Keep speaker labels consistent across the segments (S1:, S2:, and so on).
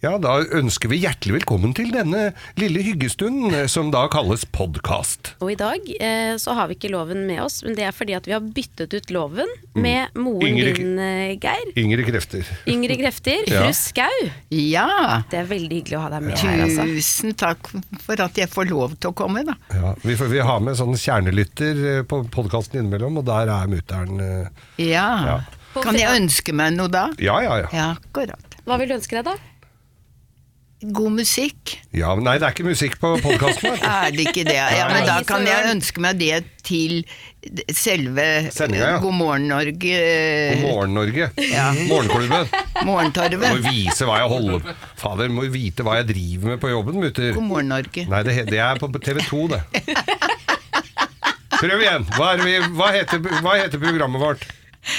S1: Ja, da ønsker vi hjertelig velkommen til denne lille hyggestunden eh, som da kalles podkast.
S2: Og i dag eh, så har vi ikke loven med oss, men det er fordi at vi har byttet ut loven med moren
S1: Mm. Yngre-
S2: din, eh, Geir.
S1: Yngre krefter.
S2: Yngre krefter,
S1: Ja.
S2: fru Skau.
S3: Ja,
S2: Det er veldig hyggelig å ha deg med her, altså.
S3: tusen takk for at jeg får lov til å komme, da.
S1: Ja, vi, får, vi har med sånn kjernelytter eh, på podkasten innimellom, og der er mutter'n eh,
S3: Ja.
S1: Ja.
S3: Kan jeg ønske meg noe da?
S1: Ja, ja, ja.
S3: Ja, akkurat.
S2: Hva vil du ønske deg, da?
S3: God musikk?
S1: ja men nei, det er ikke musikk på podkasten.
S3: Er det ikke det? Ja, men da
S2: Nei,
S3: kan jeg
S2: søren.
S3: ønske meg det til selve
S1: Sendinga, ja.
S3: God morgen,
S1: God
S3: Norge.
S1: morgen, Norge.
S3: Ja.
S1: Morgenklubben. Må
S3: Morgentorvet.
S1: vise hva jeg holder Fader, må vite hva jeg driver med på jobben, mutter.
S3: God morgen, Norge.
S1: Nei, det, he- det er på TV 2, det. Prøv igjen. Hva, er vi, hva, heter, hva heter programmet vårt?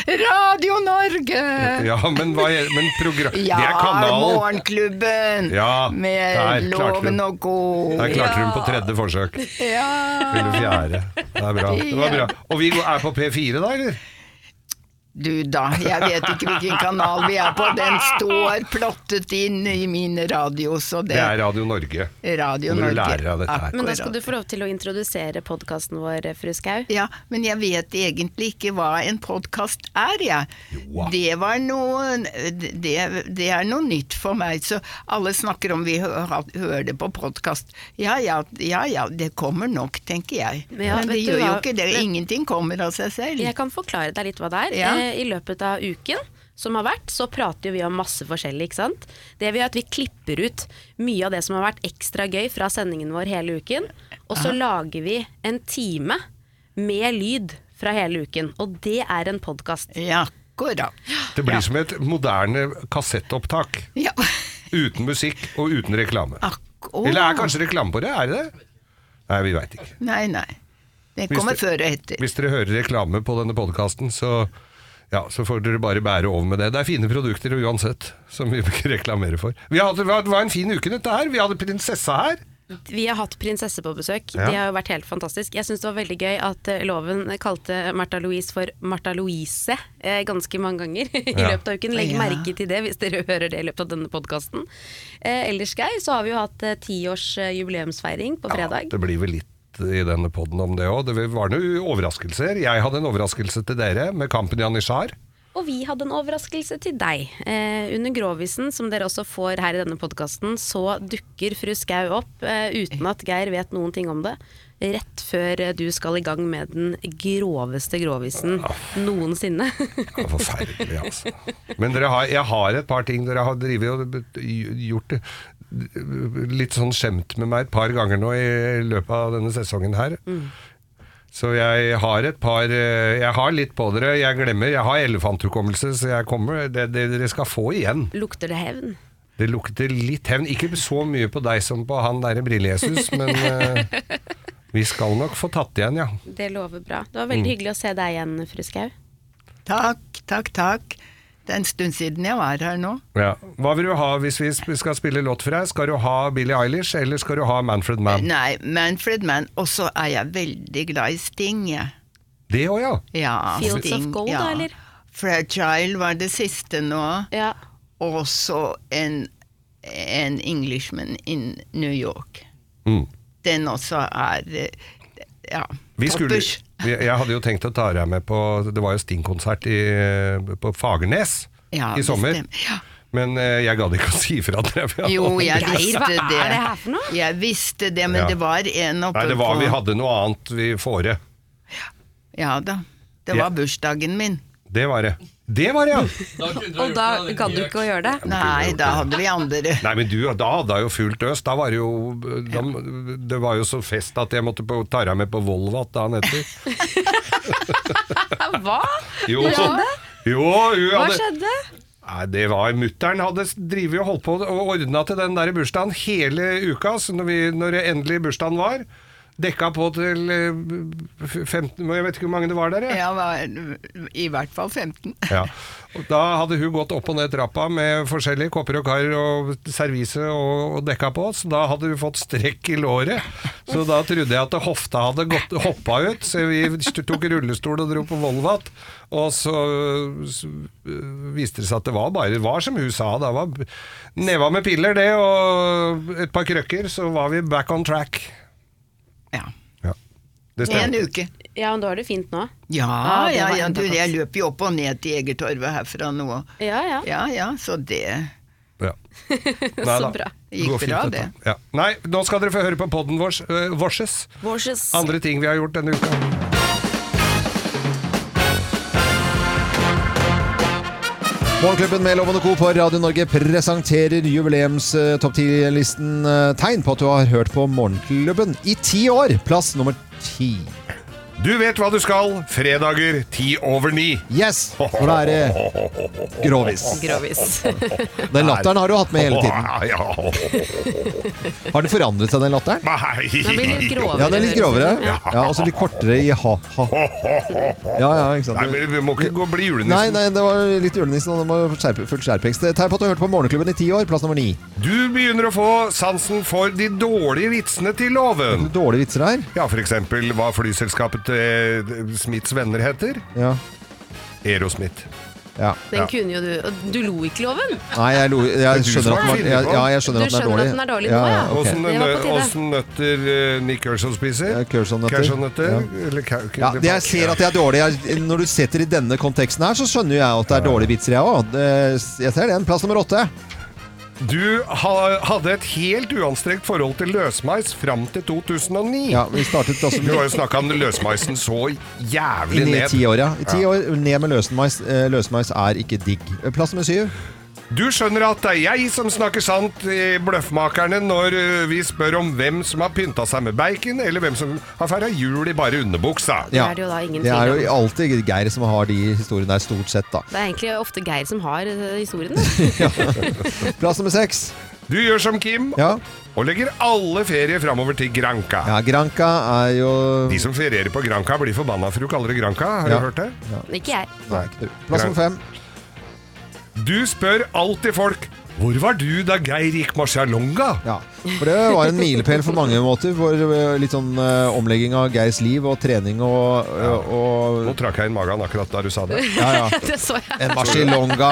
S3: Radio Norge!
S1: Ja, men, hva he- men program...
S3: Ja,
S1: det er kanalen.
S3: Morgenklubben
S1: Ja, der
S3: med
S1: klarte
S3: Loven
S1: du.
S3: og god.
S1: Der klarte hun på tredje forsøk.
S3: Ja.
S1: Eller fjerde. Det er bra. Det var bra. Og vi er på P4 da, eller?
S3: Du da, jeg vet ikke hvilken kanal vi er på. Den står plottet inn i min radio, så det,
S1: Det er Radio Norge.
S3: er Radio
S1: Nå må du
S3: Norge.
S1: lære deg dette her.
S2: Men da skal
S3: Akkurat.
S2: du få lov til å introdusere podkasten vår, eh, fru Skau.
S3: Ja, men jeg vet egentlig ikke hva en podkast er, jeg.
S1: Joa.
S3: Det var noe det, det er noe nytt for meg. Så alle snakker om vi hø- ha- hører det på podkast. Ja, ja ja ja, det kommer nok, tenker jeg.
S2: Men ja,
S3: men det
S2: vet du
S3: gjør jo
S2: hva?
S3: ikke det.
S2: Men-
S3: Ingenting kommer av seg selv.
S2: Jeg kan forklare deg litt hva det er.
S3: Ja.
S2: Eh, I løpet av uken som har vært, så prater jo vi om masse forskjellig, ikke sant. Det vi gjør er at vi klipper ut mye av det som har vært ekstra gøy fra sendingen vår hele uken, og så lager vi en time med lyd fra hele uken. Og det er en podkast.
S3: Ja, akkurat.
S1: Det blir som et moderne kassettopptak.
S3: Ja.
S1: Uten musikk og uten reklame.
S4: Ah.
S3: Akkurat.
S1: Eller er kanskje reklame på det? Er det det? Nei, vi veit ikke.
S3: Nei, nei. Det
S1: Hvis
S3: kommer
S1: det-
S3: før og etter.
S1: Hvis dere hører reklame på denne podkasten, så, ja, så får dere bare bære over med det. Det er fine produkter uansett, som vi reklamerer for. Vi hadde, det var en fin uke, dette her. Vi hadde prinsessa her.
S2: Vi har hatt prinsesse på besøk.
S1: Ja.
S2: Det har jo vært helt fantastisk. Jeg syns det var veldig gøy at eh, loven kalte Martha Louise for Martha Louise eh, ganske mange ganger i
S1: Ja.
S2: løpet av uken. Legg
S3: Ja.
S2: merke til det hvis dere hører det i løpet av denne podkasten. Eh, ellers, Geir, så har vi jo hatt eh, tiårs eh, jubileumsfeiring på fredag.
S1: det blir vel litt i denne podden om det òg. Det var noen overraskelser. Jeg hadde en overraskelse til dere med kampen i Anishar.
S2: Og vi hadde en overraskelse til deg. Eh, under Grovisen, som dere også får her i denne podkasten, så dukker fru Skau opp eh, uten at Geir vet noen ting om det. Rett før eh, du skal i gang med den groveste grovisen
S1: Ah.
S2: noensinne.
S1: Ja, Forferdelig, altså. Men dere har, jeg har et par ting dere har drevet og gjort det. Litt sånn skjemt med meg et par ganger nå i løpet av denne sesongen her.
S2: Mm.
S1: Så jeg har et par eh, Jeg har litt på dere. Jeg glemmer. Jeg har elefanthukommelse, så jeg kommer. Det, det dere skal få igjen.
S2: Lukter det hevn?
S1: Det lukter litt hevn. Ikke så mye på deg som på han derre Brille-Jesus, men eh, vi skal nok få tatt igjen, ja.
S2: Det lover bra. Det var veldig
S1: Mm.
S2: hyggelig å se deg igjen, fru Skau.
S3: Takk, takk, takk. Det er en stund siden jeg var her nå.
S1: ja. Hva vil du ha hvis vi sp- skal spille låt for deg? Skal du ha Billie Eilish, eller skal du ha Manfred Mann?
S3: Nei, Manfred Mann. Og så er jeg veldig glad i Sting, jeg.
S1: Det òg, ja.
S3: Ja,
S2: Fields of
S3: Sting,
S2: Gold,
S3: ja.
S2: da, eller?
S3: Fragile var det siste nå.
S2: Ja.
S3: Og så en, en Englishman in New York.
S1: Mm.
S3: Den også er eh, ja,
S1: Vi skulle,
S3: toppers.
S1: jeg jeg hadde jo tenkt å ta deg med på Det var jo Sting-konsert i, på Fagernes
S3: Ja,
S1: i sommer.
S3: det stemmer. Ja.
S1: Men eh, jeg gadd ikke å si ifra til deg. for jeg
S3: Jo,
S1: hadde-
S3: jeg
S2: Geir,
S3: visste
S2: hva
S3: det.
S2: er det her for noe?
S3: Jeg visste det, men
S1: Ja.
S3: det var en oppe
S1: Nei, det var,
S3: på
S1: vi hadde noe annet vi fore.
S3: Ja da. Det
S1: Ja.
S3: var bursdagen min.
S1: Det var det. Det var det, ja!
S2: Og da gadd du ikke å gjøre det?
S3: Nei, da hadde vi andre.
S1: Nei, men du, da hadde jeg jo fullt øs. Da var det jo da, Det var jo så fest at jeg måtte på, ta deg med på Volvat dagen etter.
S2: Hva?
S1: Jo,
S2: Hva skjedde?
S1: jo hun
S2: Hva
S1: hadde
S2: skjedde?
S1: Nei, det var Mutter'n hadde drevet og holdt på og ordna til den der bursdagen hele uka. Så når, vi, når det endelig bursdagen var, dekka på til eh, f- 15 men Jeg vet ikke hvor mange det var der, jeg.
S3: Jeg var i hvert fall 15.
S1: Ja. Og Da hadde hun gått opp og ned trappa med forskjellige kopper og kar og servise og, og dekka på, så da hadde hun fått strekk i låret. Så da trodde jeg at hofta hadde gått, hoppa ut, så vi tok rullestol og dro på Volvat. Og så, så øh, viste det seg at det var bare det var som hun sa, det var neva med piller det, og et par krøkker, så var vi back on track.
S3: Ja.
S1: Ja. Det
S3: En
S1: stemte.
S3: uke.
S2: Ja, men da har du fint nå.
S3: Ja,
S2: det
S3: ja,
S2: var
S3: ja,
S2: enda
S3: du,
S2: godt.
S3: jeg løper jo opp og ned til Egertorvet herfra nå.
S2: Ja, ja.
S3: Ja, ja, så det
S1: Ja.
S2: Så
S1: Neida.
S2: bra.
S3: Gikk
S1: Går fint,
S3: bra,
S1: dette. Ja. Nei, nå skal dere få høre på podden vår, øh, Vorses.
S2: Vårses.
S1: Andre ting vi har gjort denne uka.
S5: Morgenklubben med Lovende Co. på Radio Norge presenterer jubileumstopp 10-listen tegn på at du har hørt på Morgenklubben i ti år. Plass nummer ti.
S1: Du vet hva du skal. Fredager ti over ni.
S5: Yes! For da er det grovis.
S2: Grovis.
S5: Den latteren har du hatt med hele tiden.
S1: Ja, ja.
S5: Har den forandret seg, den latteren?
S2: Den blir litt
S1: Nei.
S2: grovere.
S5: Ja, den er litt grovere. Ja, Og så litt kortere i ha-ha. Ja, ja, ikke
S1: Nei,
S5: sant.
S1: men vi må ikke gå bli julenissen.
S5: Nei, nei, det var litt julenissen, og det var skjerpe- full skjerpings. Tegn på at du har hørt på Morgenklubben i ti år. Plass nummer ni.
S1: Du begynner å få sansen for de dårlige vitsene til loven.
S5: Dårlige vitser her.
S1: Ja, f.eks. hva flyselskapet til Smiths venner heter.
S5: Ja.
S1: Aerosmith.
S5: ja.
S2: Den kunne jo du. Og du lo ikke, Loven.
S5: Nei, jeg, lo, jeg
S1: du
S5: skjønner
S1: som
S5: at
S1: har
S5: den, jeg,
S1: funnet på.
S5: ja, jeg skjønner
S2: Du
S5: at den er
S2: skjønner
S5: dårlig.
S2: at den er dårlig nå, ja.
S5: ok.
S1: Åssen
S2: Det var på tide.
S1: nøtter eh, Nick Kershaw spiser?
S5: Ja, Kershaw-nøtter.
S1: Kershaw-nøtter?
S5: Ja.
S1: Eller ka-
S5: Ja, det jeg ser at det er dårlig jeg, Når du setter i denne konteksten her, så skjønner jo jeg at det er dårlige vitser, jeg òg. Jeg ser den. Plass nummer åtte.
S1: Du ha, hadde et helt uanstrengt forhold til løsmeis fram til 2009.
S5: Ja, vi startet altså
S1: Du har jo snakka om løsmeisen så jævlig
S5: inn i ti
S1: ned.
S5: år, ja. I ti år ned med løsmeis. Eh, Løsmeis er ikke digg. Plass nummer syv.
S1: Du skjønner at det er jeg som snakker sant i Bløffmakerne når ø, vi spør om hvem som har pynta seg med bacon, eller hvem som har feira jul i bare underbuksa.
S2: Det er det jo da ingen
S5: det
S2: tvil
S5: er
S2: om.
S5: jo alltid Geir som har de historiene der, stort sett, da.
S2: Det er egentlig ofte Geir som har eh, historien. da.
S5: Plass nummer seks.
S1: Du gjør som Kim
S5: Ja.
S1: og legger alle ferier framover til Granca.
S5: ja, Granca er jo
S1: De som ferierer på Granca, blir forbanna for du kaller det Granca. Har
S5: Ja.
S1: du hørt det?
S2: Ikke jeg.
S5: Nei, ikke du. Plass nummer fem.
S1: Du spør alltid folk 'Hvor var du da Geir gikk marsjalonga?'
S5: Ja, for det var en milepæl for mange måter. For eh, litt sånn eh, omlegging av Geirs liv og trening og, eh,
S1: Nå
S5: og
S1: trakk jeg inn magen akkurat da du sa det.
S5: Ja, ja.
S2: Det så jeg.
S5: En Barcelonga.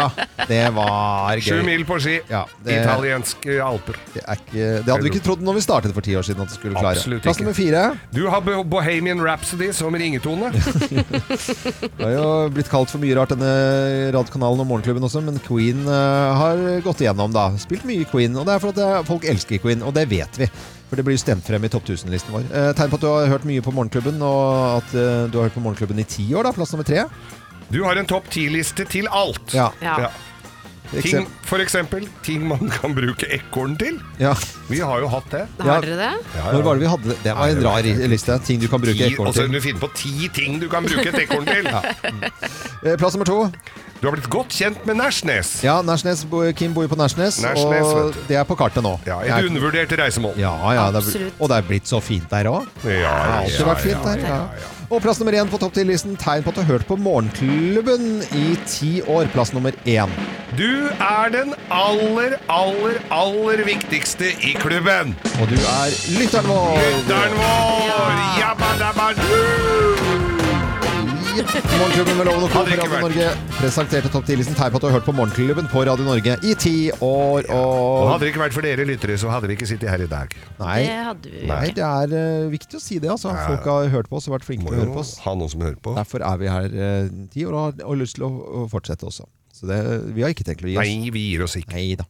S5: Det var
S1: Sju
S5: gøy.
S1: mil på ski.
S5: Ja, det-
S1: Italienske alper.
S5: Det, er ikke, det hadde vi ikke trodd når vi startet for ti år siden at det skulle klare.
S1: Absolutt
S5: Plass
S1: ikke.
S5: nummer fire.
S1: Du har Bo- Bohemian Rhapsody som ringetone.
S5: Det har jo blitt kalt for mye rart, denne radiokanalen og Morgenklubben også, men Queen eh, har gått igjennom, da. Spilt mye Queen, og det er for at eh, folk elsker Queen, og det vet vi. For det blir jo stemt frem i topp 1000-listen vår. Eh, tegn på at du har hørt mye på Morgenklubben, og at eh, du har hørt på Morgenklubben i ti år, da. Plass nummer tre.
S1: Du har en topp ti-liste til alt.
S5: Ja.
S2: Ja.
S1: Ting, for eksempel ting man kan bruke ekorn til.
S5: Ja.
S1: Vi har jo hatt det.
S5: Ja.
S2: Har dere det?
S1: Ja, ja.
S5: Når var det vi hadde det? Det var en rar liste. Ting du kan bruke
S1: Ti, altså,
S5: ekorn
S1: og så kan
S5: til.
S1: du finne på ti ting du kan bruke et ekorn til.
S5: Eh, Plass nummer to.
S1: Du har blitt godt kjent med Nærsnes.
S5: Ja, Nærsnes, bo- Kim bor jo på Nærsnes,
S1: Nærsnes,
S5: og
S1: vet du.
S5: det er på kartet nå.
S1: Ja,
S5: Det er-
S1: et undervurdert reisemål.
S5: ja, ja det er, bl-
S2: Absolutt.
S5: og det er blitt så fint der òg.
S1: Ja,
S5: Det har alltid vært fint der. Ja. Og plass nummer én på topp 10-listen. Tegn på at du har hørt på Morgenklubben i ti år. Plass nummer én.
S1: Du er den aller, aller, aller viktigste i klubben.
S5: Og du er lytteren vår!
S1: Lytteren vår! Jabba dabba doo!
S5: Morgenklubben med Loven og Co. på
S1: Hadde ikke
S5: Radio
S1: vært.
S5: Norge presenterte topp 10-listen. Tegn på at du har hørt på Morgenklubben på Radio Norge i ti år. Og
S1: Og hadde det ikke vært for dere lyttere, så hadde vi ikke sittet her i dag.
S5: Nei.
S2: Det hadde vi jo
S5: Nei,
S2: ikke.
S5: det er eh, viktig å si det. Altså. Folk har hørt på oss og vært flinke
S1: Må
S5: til å høre på
S1: jo
S5: oss.
S1: ha noen som hører på.
S5: Derfor er vi her eh, ti år og har og lyst til å, å fortsette også. Så det, vi har ikke tenkt å gi oss.
S1: Nei, vi gir oss ikke.
S5: Nei da.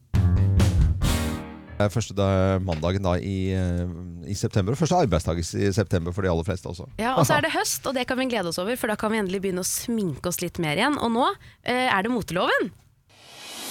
S5: Det er første da, mandagen da i, eh, i september, og første arbeidsdag i september for de aller fleste også.
S2: Ja, og så er det høst, og det kan vi glede oss over, for da kan vi endelig begynne å sminke oss litt mer igjen. Og nå eh, er det moteloven.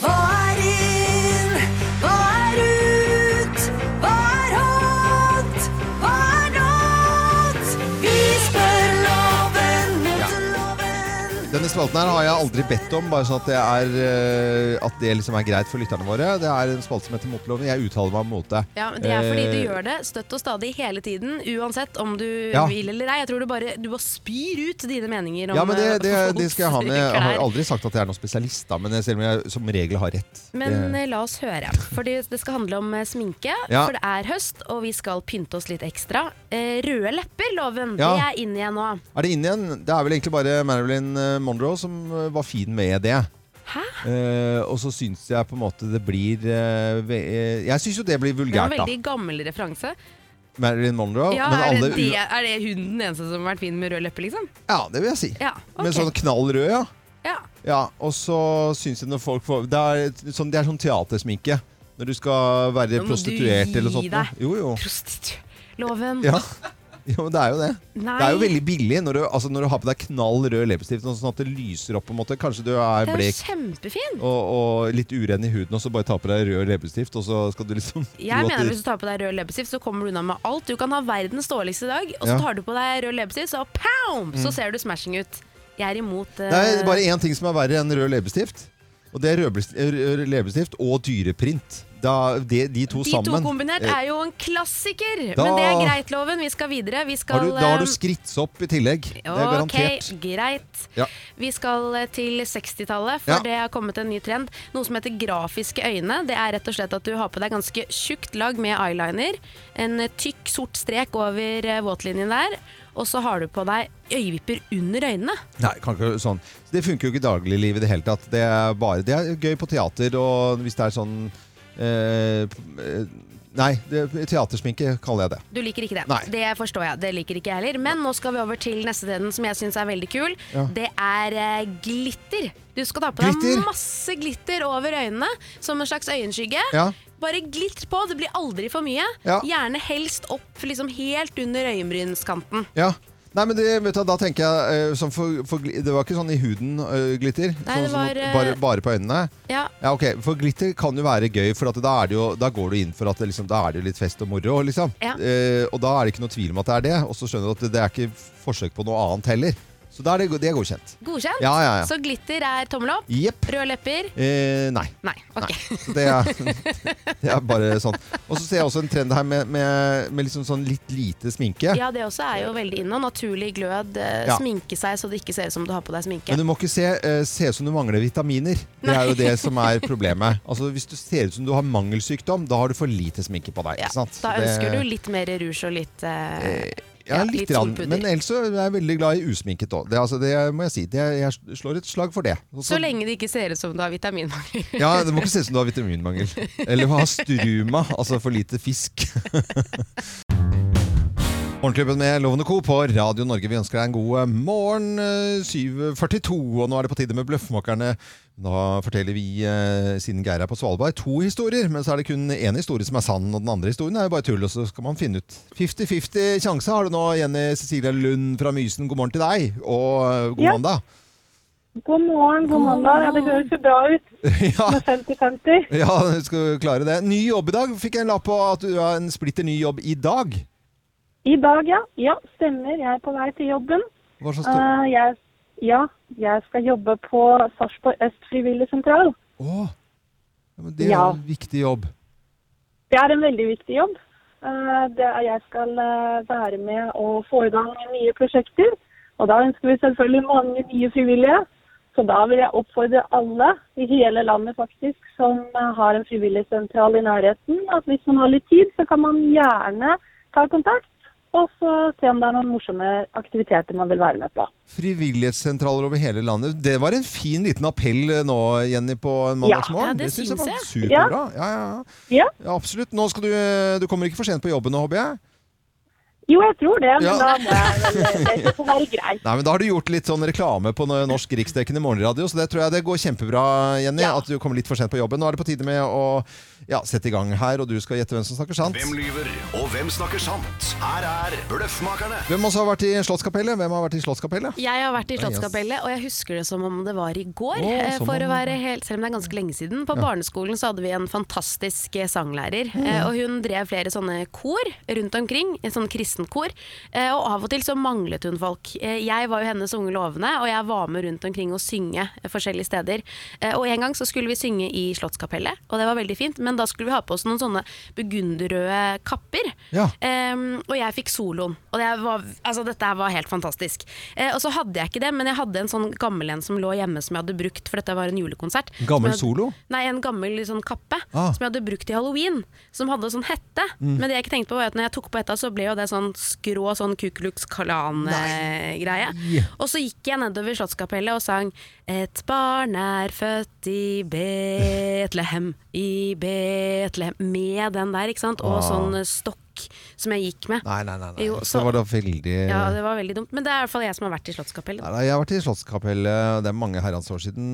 S6: Hva er inn? Hva er ut? Hva er hot? Hva er not? Vi spør loven mot loven.
S5: Denne denne spalten her har jeg aldri bedt om, bare sånn at det, er, eh, at det liksom er greit for lytterne våre. Det er en spalte som heter Moteloven. Jeg uttaler meg om mote.
S2: Ja, men Det er fordi du
S5: Eh,
S2: gjør det støtt og stadig hele tiden, uansett om du
S5: Ja.
S2: vil eller ei. Jeg tror du bare du bare spyr ut dine meninger om
S5: Ja, men det, det,
S2: eh,
S5: det skal jeg ha med. Jeg har
S2: klær.
S5: aldri sagt at jeg er noen spesialist, da, men selv om jeg som regel har rett.
S2: Men
S5: det,
S2: eh, la oss høre, fordi det skal handle om eh, sminke.
S5: Ja.
S2: For det er høst, og vi skal pynte oss litt ekstra. Eh, røde lepper, loven.
S5: Ja.
S2: Det er inn igjen nå.
S5: er det inn igjen? Det er vel egentlig bare Marilyn eh, Monroe som eh, var fin med det.
S2: Hæ?
S5: Eh, og så syns jeg på en måte det blir eh, ve- eh, Jeg syns jo det blir
S2: Det var
S5: vulgært,
S2: en
S5: da.
S2: veldig gammel referanse.
S5: Marilyn Monroe.
S2: Ja,
S5: men
S2: er,
S5: alle
S2: det
S5: u-
S2: det, er det hun den eneste som har vært fin med rød leppe, liksom?
S5: Ja, det vil jeg si.
S2: Ja, ok.
S5: Men sånn knall rød, ja.
S2: ja.
S5: Ja, og så syns jeg når folk får Det er sånn, det er sånn teatersminke. Når du skal være
S2: Nå må du
S5: prostituert eller
S2: gi
S5: sånt. noe.
S2: deg.
S5: Jo, jo.
S2: Prostitu- Loven.
S5: Ja. Jo, men det er jo det.
S2: Nei.
S5: Det er jo veldig billig når du, altså når du har på deg knall rød leppestift, sånn sånn at det lyser opp på en måte. Kanskje du er
S2: Det er jo
S5: blek
S2: kjempefin.
S5: og, og litt uren i huden, og så bare tar på deg rød leppestift, og så skal du liksom tro
S2: Jeg
S5: at
S2: mener
S5: det-
S2: Hvis du tar på deg rød leppestift, så kommer du unna med alt. Du kan ha verdens dårligste dag, og så
S5: Ja. Mm.
S2: tar du på deg rød leppestift, så pow! Så ser du smashing ut. Jeg er imot eh,
S5: Det er bare én ting som er verre enn rød leppestift. Og det er rød bes- rød leppestift og dyreprint. Da, de, de to
S2: De
S5: sammen.
S2: to kombinert
S5: Eh,
S2: er jo en klassiker!
S5: Da-
S2: Men det er greit, Loven. Vi skal videre. Vi skal
S5: har du, Da har
S2: eh,
S5: du skritsopp i tillegg. Det er
S2: Ok,
S5: garantert.
S2: greit.
S5: Ja.
S2: Vi skal eh, til 60-tallet, for
S5: Ja.
S2: det har kommet en ny trend. Noe som heter grafiske øyne. Det er rett og slett at du har på deg ganske tjukt lag med eyeliner. En eh, tykk sort strek over eh, våtlinjen der. Og så har du på deg øyevipper under øynene.
S5: Nei, kan ikke sånn. Så Det funker jo ikke i dagliglivet i det hele tatt. Det er, bare, det er gøy på teater, og hvis det er sånn eh, p- eh, Nei, det, teatersminke kaller jeg det.
S2: Du liker ikke det.
S5: Nei.
S2: Det forstår jeg. Det liker ikke jeg heller. Men nå skal vi over til neste trenden som jeg syns er veldig kul.
S5: Ja.
S2: Det er eh, glitter. Du skal ta på deg
S5: Glitter?
S2: masse glitter over øynene som en slags øyenskygge.
S5: Ja.
S2: Bare glitter på, det blir aldri for mye.
S5: Ja.
S2: Gjerne helst opp liksom helt under øyenbrynskanten.
S5: Ja. Nei, men det, vet du, da tenker jeg eh, sånn for, for, gli- Det var ikke sånn i huden eh, glitter?
S2: Nei,
S5: sånn,
S2: det
S5: som
S2: var, eh,
S5: bare, bare på øynene?
S2: Ja.
S5: Ja, ok, For glitter kan jo være gøy, for at da, er det jo, da går du inn for at det liksom, da er det jo litt fest og moro. Liksom.
S2: Ja.
S5: Eh, og da er det ikke noe tvil om at det er det. Og så skjønner du at det, det er ikke forsøk på noe annet heller. Så da er det, det er godkjent.
S2: Godkjent?
S5: Ja, ja, ja.
S2: Så glitter er tommel opp.
S5: Jepp.
S2: Røde lepper?
S5: Eh, nei.
S2: Nei. Ok.
S5: Så Det er, det er bare sånn. Og så ser jeg også en trend her med, med, med liksom sånn litt lite sminke.
S2: Ja, det også er jo veldig inne. og Naturlig glød. eh,
S5: Ja.
S2: Sminke seg så det ikke ser ut som du har på deg sminke.
S5: Men du må ikke se, eh, se ut som du mangler vitaminer. Det er jo det som er problemet. Altså, hvis du ser ut som du har mangelsykdom, da har du for lite sminke på deg.
S2: Ja.
S5: Ikke sant?
S2: Da
S5: Så det-
S2: ønsker du litt mer rouge og litt eh,
S5: Ja,
S2: Ja,
S5: litt,
S2: litt
S5: rann,
S2: solpudder.
S5: men ellers så er jeg veldig glad i usminket òg. Det, altså, det må jeg si. Det, jeg slår et slag for det. Og
S2: Så lenge det ikke ser ut som du har vitaminmangel.
S5: Ja, Det må ikke se ut som du har vitaminmangel. Eller har struma, altså for lite fisk. Morgenklubben med Lovende Co. på Radio Norge. Vi ønsker deg en god eh, morgen. eh, 7.42, og nå er det på tide med Bløffmakerne. Da forteller vi, eh, siden Geir er på Svalbard, to historier. Men så er det kun én historie som er sann, og den andre historien er jo bare tull. Og så skal man finne ut. 50-50 sjanse har du nå, Jenny Cecilia Lund fra Mysen. God morgen til deg, og eh, god
S7: Ja.
S5: mandag.
S7: God morgen, god mandag. Ja, det høres jo bra ut
S5: Ja.
S7: med 50-50.
S5: Ja, du skal klare det. Ny jobb i dag. Fikk jeg en lapp på at du har en splitter ny jobb i dag.
S7: I dag, ja. Ja, stemmer. Jeg er på vei til jobben.
S5: Hva slags jobb?
S7: Eh, jeg, ja, jeg skal jobbe på Sarpsborg Øst frivillig sentral.
S5: Å! Ja, men det er
S7: ja.
S5: en viktig jobb.
S7: Det er en veldig viktig jobb. Eh, det er, jeg skal eh, være med og få i gang nye prosjekter. Og da ønsker vi selvfølgelig mange nye frivillige. Så da vil jeg oppfordre alle i hele landet faktisk som eh, har en frivilligsentral i nærheten, at hvis man har litt tid, så kan man gjerne ta kontakt. Og så se om det er noen morsomme aktiviteter man vil være med på.
S5: Frivillighetssentraler over hele landet. Det var en fin liten appell eh, nå, Jenny, på en
S7: Ja.
S5: mandagsmorgen.
S2: Ja, det
S5: synes
S2: syns
S5: var
S2: jeg.
S5: superbra. Ja, ja, ja.
S7: Ja,
S5: ja absolutt. Nå skal du Du kommer ikke for sent på jobben nå, håper jeg?
S7: jo jeg tror det, men
S5: Ja.
S7: da må jeg vel Det får være greit.
S5: Nei, men Da har du gjort litt sånn reklame på no- norsk riksdekkende morgenradio, så det tror jeg det går kjempebra, Jenny. At du kommer litt for sent på jobben. Nå er det på tide med å ja, sette i gang her, og du skal gjette hvem som snakker sant.
S8: Hvem lyver, og hvem snakker sant? Her er Bløffmakerne.
S5: Hvem også har vært i Slottskapellet? Hvem har vært i Slottskapellet?
S2: Jeg har vært i Slottskapellet, og jeg husker det som om det var i går.
S5: Å,
S2: eh,
S5: som
S2: for å
S5: om-
S2: være helt, selv om det er ganske lenge siden. På barneskolen så hadde vi en fantastisk eh, sanglærer.
S5: Mm.
S2: eh, Og hun drev flere sånne kor rundt omkring, en sånn kristenkor. eh, Og av og til så manglet hun folk. Eh, Jeg var jo hennes unge lovende, og jeg var med rundt omkring og synge eh, forskjellige steder. Eh, Og en gang så skulle vi synge i Slottskapellet, og det var veldig fint. Men da skulle vi ha på oss noen sånne burgunderrøde kapper.
S5: Ja.
S2: Ehm, og jeg fikk soloen. Og det var, altså, dette her var helt fantastisk. Eh, og så hadde jeg ikke det, men jeg hadde en sånn gammel en som lå hjemme som jeg hadde brukt, for dette var en julekonsert.
S5: Gammel
S2: Som jeg-
S5: solo?
S2: Nei, en gammel sånn kappe
S5: Ah. Mm.
S2: som jeg hadde brukt i halloween. Som hadde sånn hette. Men det jeg ikke tenkte på var at når jeg tok på hetta, så ble jo det sånn skrå sånn Kukeluks Kalan-greie. Og så gikk jeg nedover Slottskapellet og sang Et barn er født i Betlehem, i Betlehem. Med den der, ikke sant? Og sånn eh, stokk som jeg gikk med.
S5: Ah. Nei, nei, nei. nei.
S2: Jo,
S5: så,
S2: så-
S5: var det veldig
S2: Ja, det var veldig dumt. Men det er i hvert fall jeg som har vært i Slottskapellet.
S5: Nei, da, jeg har vært i Slottskapellet, det er mange herrens år siden.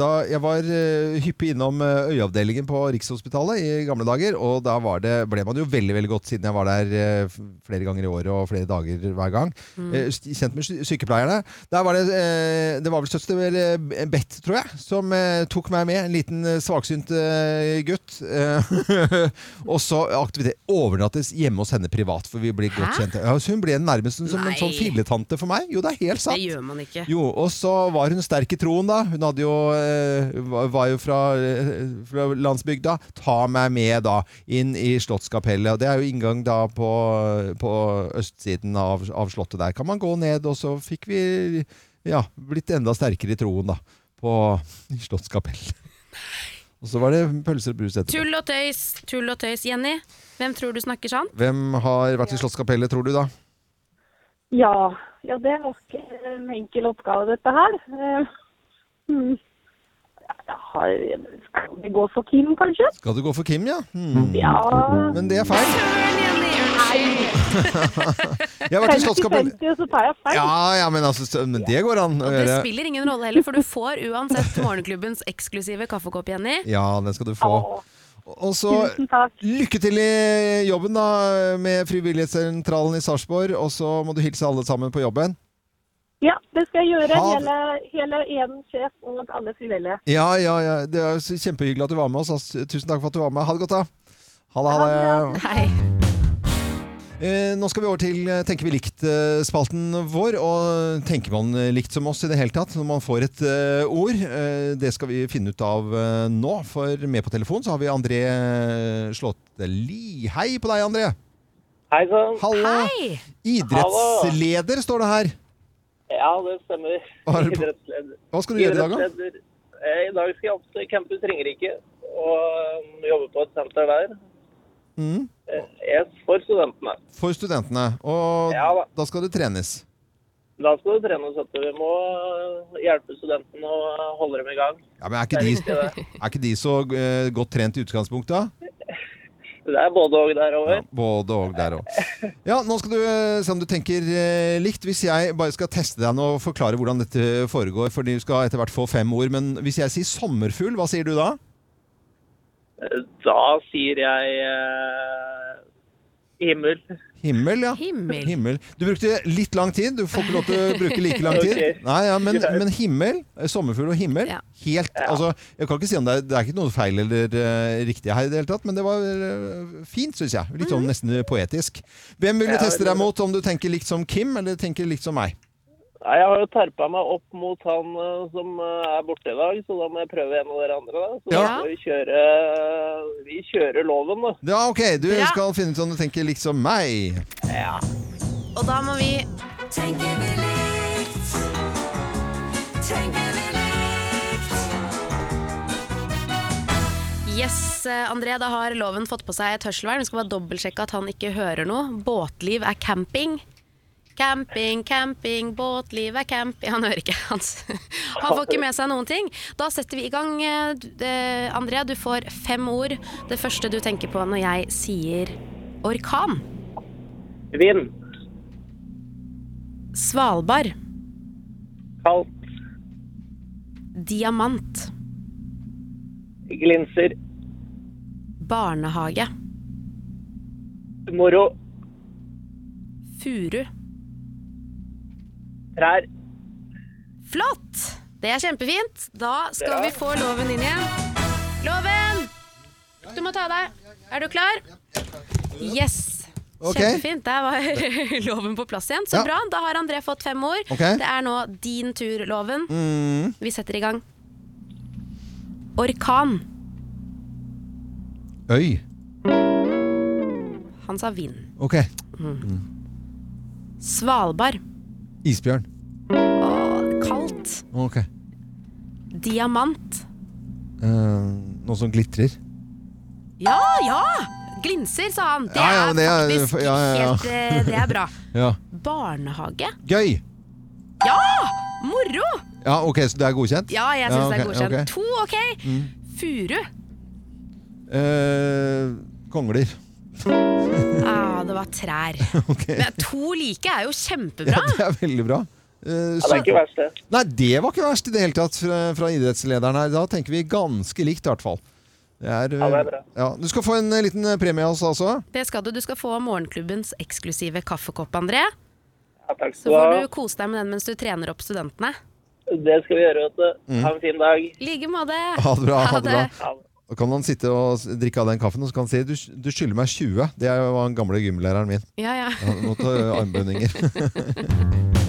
S5: Da jeg var eh, hyppig innom eh, øyeavdelingen på Rikshospitalet i gamle dager, og da var det, ble man jo veldig veldig godt siden jeg var der eh, f- flere ganger i året og flere dager hver gang.
S2: Mm.
S5: Eh, s- Kjent med sy- sykepleierne. Der var det, eh, det var vel søster eh, Bett, tror jeg, som eh, tok meg med. En liten eh, svaksynt eh, gutt. eh, og så aktivitet. Overnattes hjemme hos henne privat, for vi blir godt
S2: Hæ?
S5: kjent. Ja, så hun ble nærmest som en
S2: Nei.
S5: sånn filletante for meg. Jo, det er helt sant.
S2: Det gjør man ikke.
S5: Jo, og så var hun sterk i troen da Hun hadde jo, eh, var- var jo fra, eh, fra landsbygda Ta meg med da inn i Slottskapellet Og det er jo inngang da på, på østsiden av, av slottet der Kan man gå ned og så fikk vi ja, blitt enda sterkere i troen da På i Slottskapellet Og så var det pølser og brus etterpå
S2: Tull og tøys, tull og tøys. Jenny, hvem tror du snakker sant?
S5: Hvem har vært i Slottskapellet tror du da?
S7: Ja, ja, det var ikke en enkel oppgave, dette her. Eh, hmm. Jeg har, skal vi gå for Kim, kanskje?
S5: Skal du gå for Kim ja? Hmm.
S7: Ja,
S9: Mm.
S5: Men det er feil Jeg har vært i Slottskapellet
S7: 50-50, og så tar jeg feil.
S5: Ja, ja, men altså, så- men det går an å
S2: Det
S5: gjøre.
S2: spiller ingen rolle heller, for du får uansett morgenklubbens eksklusive kaffekopp, Jenny.
S5: Ja, den skal du få.
S7: Å,
S5: Og så
S7: tusen takk.
S5: lykke til i jobben da med Frivillighetssentralen i Sarpsborg, og så må du hilse alle sammen på jobben.
S7: Ja, det skal jeg gjøre.
S5: Ha-
S7: Hele, hele Eden sjef og alle frivillige.
S5: Ja, ja, ja. Det er så kjempehyggelig at du var med oss. ass. Tusen takk for at du var med. Ha det godt, da. Ha det, ha det.
S2: Hei.
S5: Eh, nå skal vi over til eh, Tenker vi likt-spalten vår. Og tenker man eh, likt som oss i det hele tatt når man får et eh, ord? Eh, det skal vi finne ut av eh, nå, for med på telefon så har vi André Slåtteli. Hei på deg, André.
S10: Hei sann.
S5: Hallo.
S2: Hei!
S5: Idrettsleder står det her.
S10: Ja, det stemmer.
S5: Hva er det på-
S10: Idrettsleder.
S5: Hva skal du gjøre i dag, da?
S10: Idrettsleder. Eh, I dag skal jeg opp til Campus Ringerike og um, jobbe på et senter der.
S5: Mm.
S10: Eh, Yes, for studentene.
S5: For studentene. Og
S10: Ja da.
S5: da skal det trenes.
S10: Da skal det trenes at vi må eh, hjelpe studentene og uh, holde dem i gang.
S5: Ja, men Er
S10: Det
S5: ikke
S10: er
S5: de,
S10: viktig, det.
S5: er ikke de så eh, godt trent i utgangspunktet? da?
S10: Det er både og der over.
S5: Ja, både og der òg. Ja, nå skal du eh, se om du tenker eh, likt. Hvis jeg bare skal teste deg nå og forklare hvordan dette foregår, for du skal etter hvert få fem ord, men hvis jeg sier sommerfugl, hva sier du da?
S10: Eh, Da sier jeg eh, himmel.
S5: Himmel, ja.
S2: Himmel.
S5: Himmel. Du brukte litt lang tid. Du får ikke lov til å bruke like lang tid.
S10: Ok.
S5: Nei, ja, men, men himmel, eh, sommerfugl og himmel
S2: Ja.
S5: Helt, altså, Jeg kan ikke si om det er, det er ikke noe feil eller eh, riktig her i det hele tatt, men det var eh, fint, syns jeg. Litt
S2: Mhm.
S5: sånn nesten poetisk. Hvem vil du
S10: Ja,
S5: teste deg
S10: veldig.
S5: mot, om du tenker likt som Kim, eller tenker likt som meg?
S10: Nei, jeg har jo terpa meg opp mot han eh, som eh, er borte i dag, så da må jeg prøve en av dere andre. Da. Så
S5: Ja.
S10: da får vi kjøre, eh, vi kjører loven, da.
S5: Ja, ok, du
S2: Bra.
S5: skal finne ut om du tenker likt som meg.
S2: Og da må vi
S6: Tenker vi likt? Tenker vi likt?
S2: Yes, eh, André, da har loven fått på seg et hørselvern. Vi skal bare dobbeltsjekke at han ikke hører noe. Båtliv er camping. Camping, camping, båtliv er camping Han hører ikke. Han, s- han får ikke med seg noen ting. Da setter vi i gang. eh, d- eh, André, du får fem ord. Det første du tenker på når jeg sier orkan.
S10: Vind,
S2: Svalbard.
S10: kaldt,
S2: Diamant.
S10: glinser,
S2: Barnehage.
S10: Moro.
S2: Furu.
S10: Trær.
S2: Flott! Det er kjempefint. Da skal vi få loven inn igjen. Loven! Du må ta av deg. Er du klar? Yes.
S5: Ok.
S2: Kjempefint. Der var loven på plass igjen. Så
S5: Ja.
S2: bra. Da har André fått fem ord.
S5: Ok.
S2: Det er nå din tur, Loven.
S5: Mm.
S2: Vi setter i gang. Orkan.
S5: Øy.
S2: Han sa vind.
S5: Ok.
S2: Svalbard.
S5: Isbjørn.
S2: Åh, kaldt.
S5: Ok.
S2: Diamant.
S5: Eh, noe som glitrer.
S2: Ja, ja! Glinser, sa han. Det
S5: Ja, ja,
S2: er
S5: men det er- ja,
S2: faktisk
S5: ja, ja.
S2: helt eh, Det er bra.
S5: Ja.
S2: Barnehage.
S5: Gøy!
S2: Ja! Moro!
S5: Ja, ok, så det er godkjent?
S2: Ja, jeg syns det er
S5: ok, ok. Mm.
S2: godkjent. To, ok. Furu.
S5: Eh, kongler.
S2: Ah, det var trær.
S5: Ok.
S2: Men to like er jo kjempebra.
S5: Ja, det er veldig bra. Eh,
S10: Ja, det er ikke verst, det.
S5: Nei, det var ikke verst i det hele tatt fra, fra idrettslederen her. Da tenker vi ganske likt, i hvert fall. Det er,
S10: Ja, det er bra.
S5: ja, du skal få en eh, liten eh, premie av oss, altså.
S2: Det skal du. Du skal få morgenklubbens eksklusive kaffekopp, André.
S10: Ja, takk
S2: Så
S10: skal du
S2: får
S10: ha.
S2: du kose deg med den mens du trener opp studentene.
S10: Det skal vi gjøre, vet du. Ha en fin dag.
S2: I like måte.
S5: Ha det bra. Ha det bra.
S10: Ha det.
S5: Da kan han sitte og s- drikke av den kaffen og så kan han si du, du skylder meg 20. Det er jo han gamle gymlæreren min.
S2: Ja, ja.
S5: Han måtte ha armbøndinger.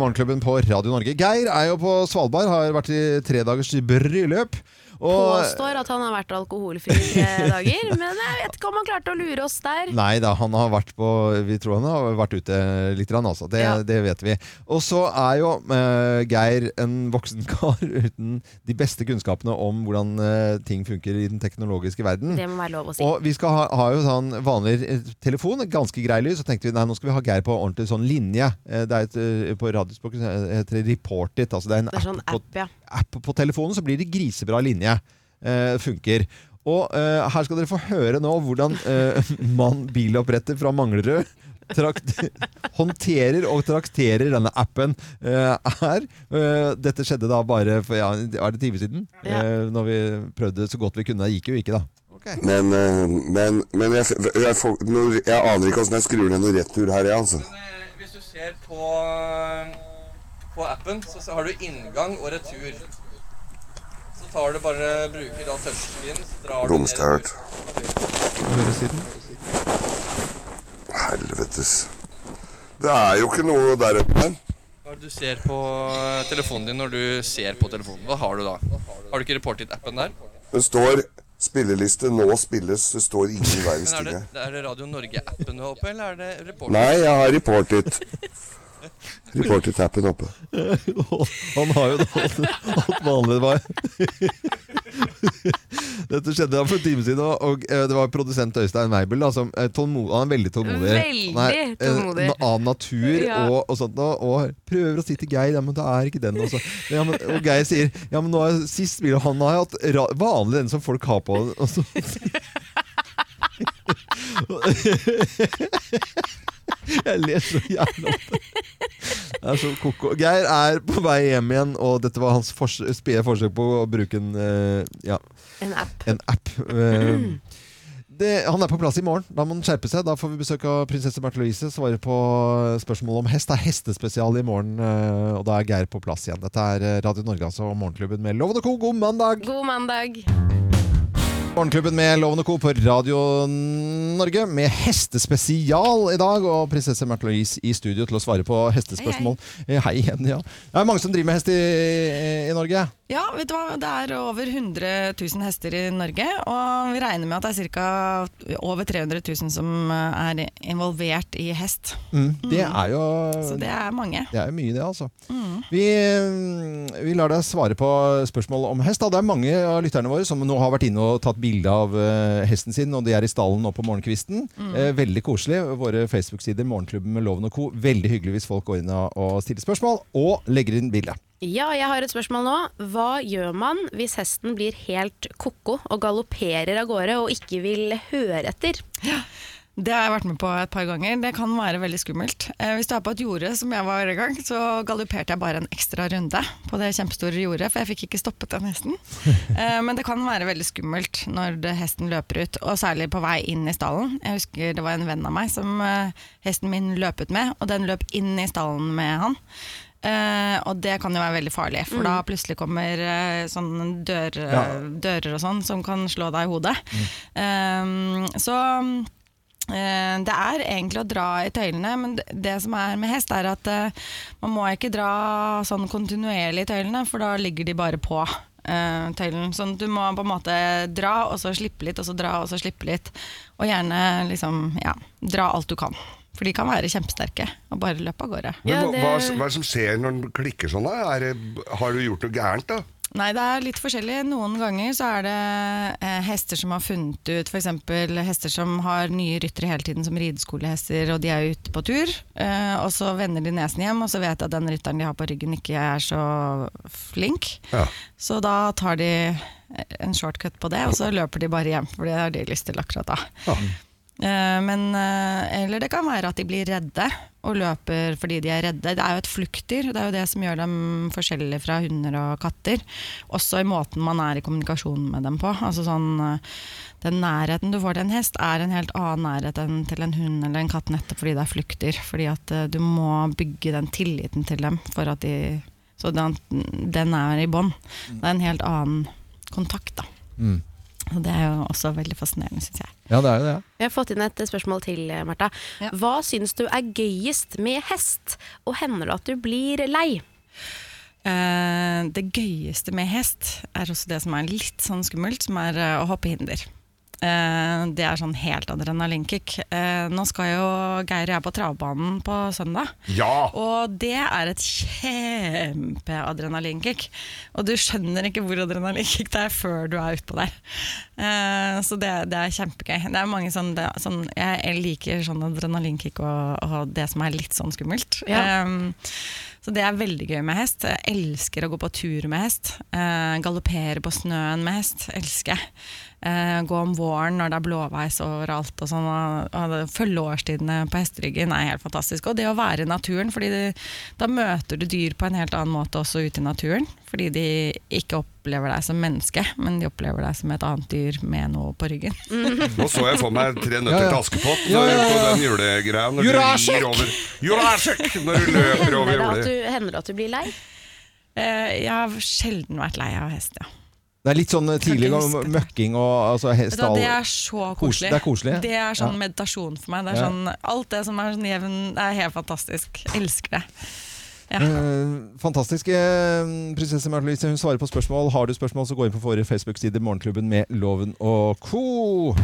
S5: Morgenklubben på Radio Norge. Geir er jo på Svalbard, har vært i tre dagers bryllup. Og
S2: Påstår at han har vært alkoholfri i tre dager, men jeg vet ikke om han klarte å lure oss der.
S5: Nei da, han har vært på Vi tror han har vært ute litt, grann, altså. Det,
S2: Ja.
S5: det vet vi. Og så er jo eh, Geir en voksen kar uten de beste kunnskapene om hvordan eh, ting funker i den teknologiske verden.
S2: Det må være lov å si.
S5: Mm. Og vi skal ha, ha jo sånn vanlig eh, telefon, ganske grei lyd. Så tenkte vi nei, nå skal vi ha Geir på ordentlig sånn linje. Eh, Det er et, eh, på radiospråket så heter det Report It. Altså det er en
S2: Det er sånn
S5: app,
S2: app, ja.
S5: på, app på telefonen, så blir det grisebra linje. Eh, funker. Og eh, her skal dere få høre nå hvordan eh, mann biloppretter fra Manglerud trakt, håndterer og trakterer denne appen eh, her. Eh, dette skjedde da bare for ja, er det time siden?
S2: Ja.
S5: Eh, når vi prøvde så godt vi kunne. Det gikk jo ikke, da.
S11: Men, eh, men, men jeg, jeg, får- nå- jeg aner ikke åssen jeg skrur ned noe retur her, jeg, altså.
S12: eh, Hvis du ser på, på appen, så så har du inngang og retur. Så tar du bare, bruker da touchscreen, så drar du ned
S11: Romstørt.
S12: retur.
S5: Høyresiden.
S11: Helvetes. Det er jo ikke noe der oppe.
S12: Hva er det du ser på eh, telefonen din når du ser på telefonen? Hva har du da? Har du ikke Reportit-appen der?
S11: Det står spilleliste 'Nå spilles'. Det står ingen verdens
S12: Men er
S11: ting
S12: det,
S11: her.
S12: er det Radio Norge-appen du har oppe, eller er det Reportit?
S11: Nei, jeg har report it. Report it-appen oppe.
S5: Han har jo da alt, alt vanlig det var. Dette skjedde da for en time siden, og, og eh, det var produsent Øystein Weibel da, som eh, tålmo- han er veldig tålmodig.
S2: Veldig
S5: Han er, eh,
S2: tålmodig.
S5: na- Av natur
S2: Ja.
S5: og, og sånt, og, og prøver å si til Geir ja, men det er ikke den. Også. Ja, men, og Geir sier ja, men nå er sist bil, og han har hatt ra vanlig den som folk har på. Og så, Jeg ler så jævla ofte. Det er så koko. Geir er på vei hjem igjen, og dette var hans fors spede forsøk på å bruke en, eh, ja,
S2: En app.
S5: en app. Eh, det, han er på plass i morgen. Da må han skjerpe seg. Da får vi besøk av prinsesse Märtha Louise. Svare på spørsmål om hest. Det er hestespesial i morgen, eh, og da er Geir på plass igjen. Dette er eh, Radio Norge altså, og Morgenklubben med Loven og Co. God mandag!
S2: God mandag.
S5: Morgenklubben med Loven og Co. på Radio Norge med hestespesial i dag. Og prinsesse Märtha Louise i studio til å svare på hestespørsmål. Hei, hei. igjen, ja. Det er mange som driver med hest i, i Norge.
S4: Ja, vet du hva? det er over 100 000 hester i Norge, og vi regner med at det er ca. over 300 000 som eh, er involvert i hest.
S5: Det er jo
S4: Så det er mange.
S5: det er jo mye, det, altså. Vi, eh, vi lar deg svare på spørsmål om hest. Da. Det er mange av lytterne våre som nå har vært inne og tatt bilde av eh, hesten sin, og de er i stallen nå på morgenkvisten. Eh, veldig koselig. Våre Facebook-sider, Morgenklubben med Loven og co. Veldig hyggelig hvis folk går inn og og stiller spørsmål, og legger inn bilde.
S2: Ja, jeg har et spørsmål nå. Hva gjør man hvis hesten blir helt ko-ko og galopperer av gårde og ikke vil høre etter?
S4: Det har jeg vært med på et par ganger. Det kan være veldig skummelt. Eh, hvis du er på et jorde, som jeg var i gang, så galopperte jeg bare en ekstra runde på det kjempestore jordet, for jeg fikk ikke stoppet den hesten. Eh, men det kan være veldig skummelt når det, hesten løper ut, og særlig på vei inn i stallen. Jeg husker det var en venn av meg som eh, hesten min løpet med, og den løp inn i stallen med han. Eh, og det kan jo være veldig farlig, for
S13: Mm.
S4: da plutselig kommer eh, sånne dør,
S13: Ja.
S4: dører og sånn som kan slå deg i hodet.
S13: Mm.
S4: Eh, så eh, det er egentlig å dra i tøylene, men det- det som er med hest, er at eh, man må ikke dra sånn kontinuerlig i tøylene, for da ligger de bare på. eh, tøylen. Sånn, du må på en måte dra, og så slippe litt, og så dra, og så slippe litt. Og gjerne liksom, ja, dra alt du kan. For de kan være kjempesterke og bare løpe av gårde.
S1: Men hva, hva, hva er det som skjer når den klikker sånn? da? Er det, har du gjort noe gærent, da?
S4: Nei, det er litt forskjellig. Noen ganger så er det eh, hester som har funnet ut f.eks. hester som har nye ryttere hele tiden, som rideskolehester, og de er ute på tur. Eh, og så vender de nesen hjem, og så vet de at den rytteren de har på ryggen ikke er så flink.
S1: Ja.
S4: Så da tar de en shortcut på det, og så løper de bare hjem, for det har de lyst til akkurat da. Eh, Men, eh, eller det kan være at de blir redde og løper fordi de er redde. Det er jo et fluktdyr, det er jo det som gjør dem forskjellige fra hunder og katter. Også i måten man er i kommunikasjon med dem på. Altså sånn, eh, den nærheten du får til en hest, er en helt annen nærhet enn til en hund eller en katt, nettopp fordi det er fluktdyr. Fordi at eh, du må bygge den tilliten til dem, for at de, så den, den er i bånd. Det er en helt annen kontakt, da.
S5: Mm.
S4: Og det er jo også veldig fascinerende, syns jeg.
S5: Ja, det er jo det.
S2: Vi har fått inn et spørsmål til, Marta. Hva syns du er gøyest med hest, og hender det at du blir lei?
S4: Eh, det gøyeste med hest er også det som er litt sånn skummelt, som er eh, å hoppe hinder. Eh, det er sånn helt adrenalinkick. Eh, nå skal jo Geir og jeg på travbanen på søndag.
S1: Ja!
S4: Og det er et kjempeadrenalinkick. Og du skjønner ikke hvor adrenalinkick det er før du er utpå der. Eh, så det, det er kjempegøy. Det er mange sånn, det, er sånn jeg, jeg liker sånn adrenalinkick og, og det som er litt sånn skummelt.
S13: Ja.
S4: Eh, så det er veldig gøy med hest. Jeg elsker å gå på tur med hest. Eh, Galoppere på snøen med hest. Elsker jeg. Eh, gå om våren når det er blåveis overalt og sånn. Og, og det- følge årstidene på hesteryggen er helt fantastisk. Og det å være i naturen, fordi det, da møter du dyr på en helt annen måte også ute i naturen. Fordi de ikke opplever deg som menneske, men de opplever deg som et annet dyr med noe på ryggen.
S1: Nå så jeg for meg tre nøtter
S4: Ja, ja.
S1: til Askepott
S4: Ja, ja,
S1: på
S4: ja.
S1: den julegreia. Når
S4: Jurassic!
S1: du rir over Jurassic! Når du løper
S2: Hender
S1: over
S2: det at
S1: jordet.
S2: du, hender det at du blir lei?
S4: Eh, jeg har sjelden vært lei av hest, ja.
S5: Det er litt sånn eh, tidlig
S4: ikke
S5: om
S4: huske det.
S5: møkking og altså, he-
S4: Vet du hva,
S5: stall-
S4: Det er så
S5: Kos-
S4: koselig.
S5: Det er koselig.
S4: Det er sånn
S5: ja.
S4: meditasjon for meg. Det er
S5: Ja.
S4: sånn, alt det som er sånn jevn, det er helt fantastisk. Jeg elsker det. Ja.
S5: Eh, fantastisk. eh, Prinsesse Märtha hun svarer på spørsmål. Har du spørsmål, så gå inn på våre Facebook-sider Morgenklubben med Loven og co.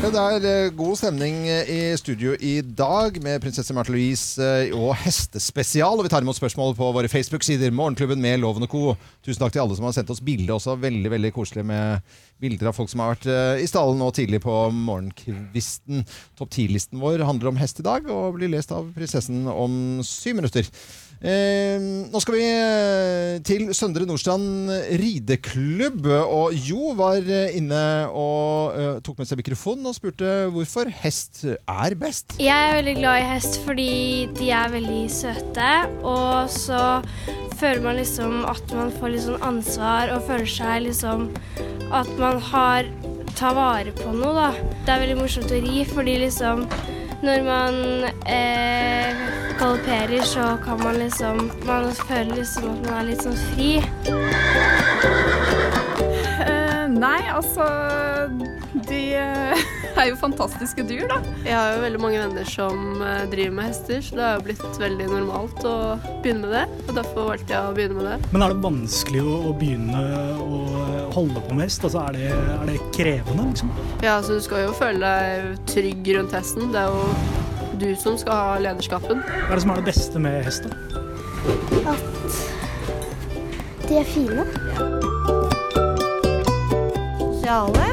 S5: Ja, det er eh, god stemning eh, i studio i dag med prinsesse Märtha Louise eh, og hestespesial. Og vi tar imot spørsmål på våre Facebook-sider. Morgenklubben med Loven og co. Tusen takk til alle som har sendt oss bilder også. Veldig veldig koselig med bilder av folk som har vært eh, i stallen nå tidlig på morgenkvisten. Topp 10-listen vår handler om hest i dag og blir lest av prinsessen om syv minutter. Eh, nå skal vi eh, til Søndre Nordstrand rideklubb. Og Jo var eh, inne og eh, tok med seg mikrofonen og spurte hvorfor hest er best.
S14: Jeg er veldig glad i hest fordi de er veldig søte, og så føler man liksom at man får litt sånn ansvar og føler seg liksom at man har tar vare på noe, da. Det er veldig morsomt å ri fordi liksom når man eh, galopperer, så kan man liksom Man føler liksom at man er litt sånn fri.
S15: Eh, nei, altså De eh, er jo fantastiske dyr, da. Jeg har jo veldig mange venner som eh, driver med hester, så det har jo blitt veldig normalt å begynne med det. Og derfor valgte jeg å begynne med det.
S9: Men er det vanskelig å, å begynne å holde på med hest? Altså, er, det, er det krevende, liksom?
S15: Ja, altså du skal jo føle deg trygg rundt hesten. Det er jo du som skal ha lederskapen.
S9: Hva er det som er det beste med hest? da?
S16: De er fine. Sosiale.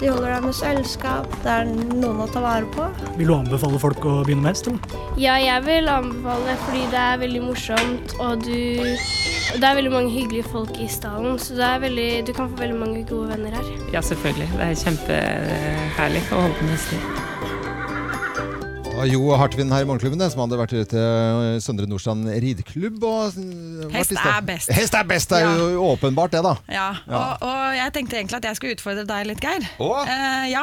S16: De holder deg med selskap. Det er noen å ta vare på.
S9: Vil du anbefale folk å begynne med hest? Eller?
S14: Ja, jeg vil anbefale fordi det er veldig morsomt, og du Og Det er veldig mange hyggelige folk i stallen, så det er veldig, du kan få veldig mange gode venner her.
S13: Ja, selvfølgelig. Det er kjempeherlig å holde på med hester.
S5: Det var Jo Hartvin her i Morgenklubben, det, som hadde vært ute til Søndre Nordstrand rideklubb. Og eh, vært
S4: Hest
S5: i sted.
S4: er best.
S5: Hest er best, det er jo åpenbart det, da.
S4: Ja,
S5: Ja.
S4: Og, og jeg tenkte egentlig at jeg skulle utfordre deg litt, Geir.
S5: Å?
S4: Eh, ja,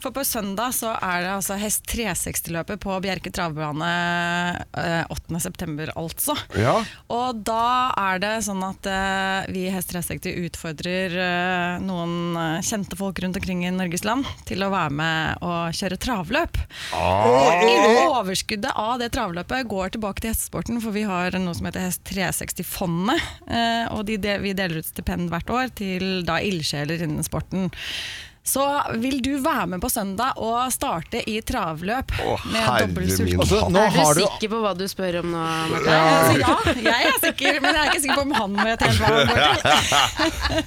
S4: For på søndag så er det altså hest 360-løpet på Bjerke travbane eh, 8.9., altså.
S1: Ja.
S4: Og da er det sånn at eh, vi i Hest 360 utfordrer eh, noen eh, kjente folk rundt omkring i Norges land til å være med og kjøre travløp.
S6: Ah.
S4: Og overskuddet av det travløpet går tilbake til hestesporten, for vi har noe som heter Hest 360-fondet. eh, Og de, del- vi deler ut stipend hvert år til da ildsjeler innen sporten. Så vil du være med på søndag og starte i travløp med dobbeltsult?
S2: er du sikker på hva du spør om nå, Marte?
S4: Altså, ja, jeg er sikker, men jeg er ikke sikker på om han vet helt hva han går til.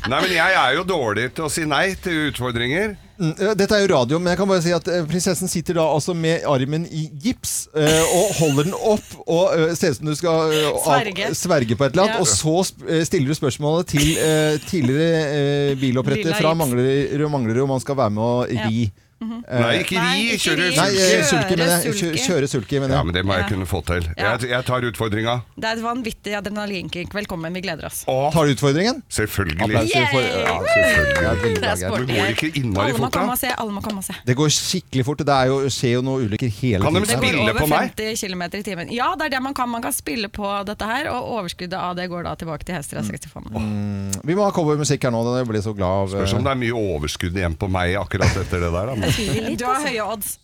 S1: Nei, men jeg er jo dårlig til å si nei til utfordringer.
S5: Mm, eh, Dette er jo radio, men jeg kan bare si at eh, prinsessen sitter da altså med armen i gips eh, og holder den opp og eh, ser ut som du skal eh, av-
S4: Sverge.
S5: sverge på et eller annet.
S4: Ja.
S5: Og så sp- eh, stiller du spørsmålet til eh, tidligere eh,
S4: Lilla
S5: biloppretter fra
S4: gips.
S5: Manglerud Manglerud om han skal være med og
S4: Ja.
S5: ri.
S4: Mhm.
S5: Eh,
S1: Nei, ikke ri, Nei, ikke kjøre ri. sulke.
S5: Nei, eh, sulke, mener jeg.
S4: Kjøre sulke.
S5: Kjø- Kjøre sulke, mener jeg.
S1: Ja, men det må jeg
S4: Ja.
S1: kunne få til.
S4: Ja.
S1: Jeg, jeg tar utfordringa.
S4: Det er et vanvittig adrenalinkick. Velkommen, vi gleder oss.
S5: Tar du utfordringen?
S1: Selvfølgelig.
S5: Applauser for- ja, selvfølgelig. Det er veldig bra, Geir.
S1: Du går ikke innmari
S4: Alle må
S1: fort,
S4: komme
S1: da.
S4: og se. Alle må komme og se.
S5: Det går skikkelig fort. Det er jo, skjer jo noen ulykker hele
S1: Kan de
S5: tiden.
S1: spille
S4: Over 50 km i timen. Ja, det er det man kan. Man kan spille på dette her, og overskuddet av det går da tilbake til Hester 360-fondet.
S5: Mm, vi må ha cowboymusikk her nå. Jeg blir så glad av
S1: Spørs om det er mye overskudd igjen på meg akkurat etter det der. Da. men-
S4: Du har høye odds.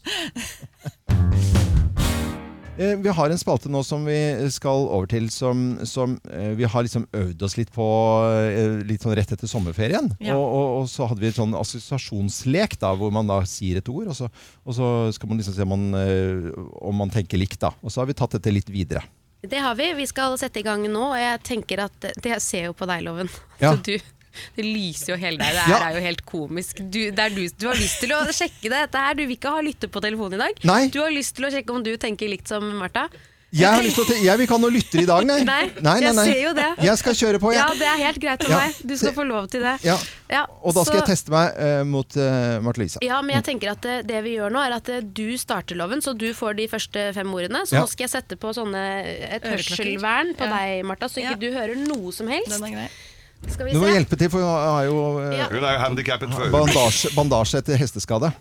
S5: Eh, Vi har en spalte nå som vi skal over til som, som eh, vi har liksom øvd oss litt på eh, litt sånn rett etter sommerferien.
S17: Ja.
S5: Og, og, og så hadde vi en sånn assosiasjonslek da, hvor man da sier et ord, og så, og så skal man liksom se om man, eh, om man tenker likt. da. Og så har vi tatt dette litt videre.
S2: Det har vi. Vi skal sette i gang nå, og jeg tenker at det jeg ser jo på deg, Loven.
S5: Ja.
S2: Så du det lyser jo hele deg. Det her
S5: Ja.
S2: er jo helt komisk. Du, det er du, du har lyst til å sjekke det, dette her. Du vil ikke ha lytte på telefonen i dag.
S5: Nei.
S2: Du har lyst til å sjekke om du tenker likt som Martha.
S5: Jeg, har lyst til å te- jeg vil ikke ha noen lytter i dag, nei.
S2: Nei, jeg ser jo det.
S5: Jeg skal kjøre på, jeg.
S2: Ja, det er helt greit for
S5: Ja.
S2: meg. Du skal få lov til det.
S5: Ja.
S2: Ja,
S5: Og da skal
S2: så-
S5: jeg teste meg eh, mot eh, Marte Lise.
S2: Ja, men jeg tenker at eh, det vi gjør nå er at eh, du starter loven, så du får de første fem ordene. Så
S5: Ja.
S2: nå skal jeg sette på sånne, eh, et
S4: Øreklokker.
S2: hørselvern på deg, Martha, så ikke du hører noe som helst. Skal vi
S5: Du må
S2: se.
S5: hjelpe til, for hun har jo eh,
S1: Hun er jo handikappet før.
S5: bandasje, bandasje etter hesteskade.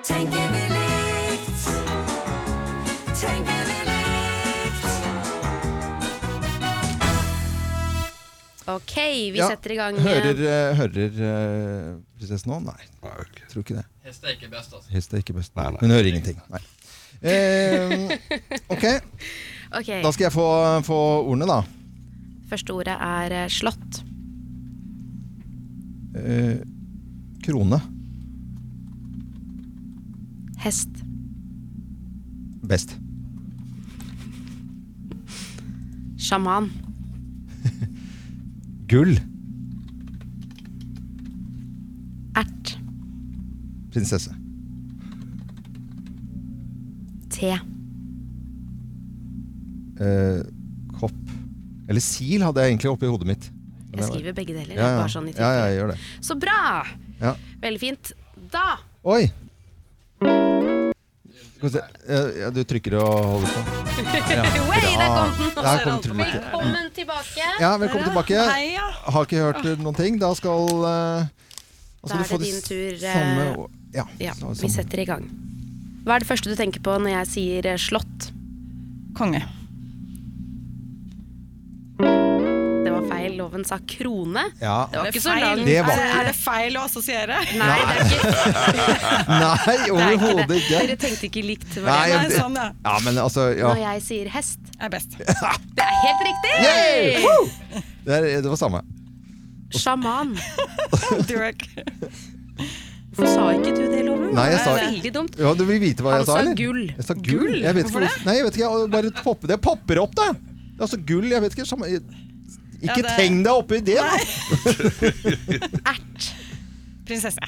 S6: Tenker vi likt? Tenker vi likt?
S2: Ok, vi
S5: Ja,
S2: setter i gang. eh,
S5: Hører, eh, hører eh, prinsessen nå? Nei, jeg tror ikke det.
S12: Hest er ikke best, altså.
S5: Hest er ikke best. Hun hører ingenting. Nei. Eh, ok,
S2: Ok,
S5: da skal jeg få, få ordene, da.
S2: første ordet er eh, slått.
S5: Eh, krone.
S2: Hest.
S5: Best.
S2: Sjaman.
S5: Gull.
S2: Ert.
S5: Prinsesse.
S2: Te.
S5: Eh, kopp. Eller sil hadde jeg egentlig oppi hodet mitt.
S2: Jeg skriver begge deler,
S5: Ja, ja.
S2: bare sånn i
S5: ja, ja, jeg gjør det.
S2: Så bra!
S5: Ja.
S2: Veldig fint. Da
S5: Oi! Skal vi se. Eh, ja, Du trykker og holder på. Ja.
S2: Way, der kom den!
S5: Bra. Der kom tryllet.
S2: Velkommen tilbake.
S5: Ja, velkommen tilbake.
S2: Hei, ja.
S5: Har ikke hørt eh, noen ting. Da skal eh, da
S2: Ah. Da
S5: skal
S2: er
S5: du få
S2: det din
S5: s-
S2: tur, eh,
S5: Samme, å- ja,
S2: Ja,
S5: så-
S2: vi
S5: samme.
S2: setter i gang. Hva er det første du tenker på når jeg sier eh, slått?
S4: Konge.
S2: Det var feil. Loven sa krone.
S5: Ja.
S2: Det var ikke så
S4: Feil.
S2: langt.
S5: Det var-
S4: Er det feil å assosiere?
S2: Nei, det er ikke
S5: Nei,
S2: det er ikke
S5: overhodet
S2: det.
S5: ikke.
S2: Dere tenkte ikke likt. var
S5: Nei,
S2: det?
S5: jeg- ja, men altså ja.
S2: Når jeg sier hest
S4: Er best.
S2: Det er helt riktig!
S5: Yay! Woo! Det, er, det var samme.
S2: Sjaman.
S4: Durek.
S2: Hvorfor sa ikke du det, Loven?
S5: Nei, jeg sa
S2: Det er veldig dumt.
S5: Ja, du vil vite hva
S2: Han
S5: jeg sa,
S2: sa
S5: eller?
S2: gull.
S5: Jeg sa gull.
S2: Gull?
S5: Jeg vet ikke
S2: Hvorfor
S5: hvor- Nei, jeg vet ikke. jeg Bare popper, det popper opp, da. Det er Altså gull, jeg vet ikke samme, jeg, Ikke
S4: Ja, det-
S5: tegn deg oppi det, da.
S4: Prinsesse.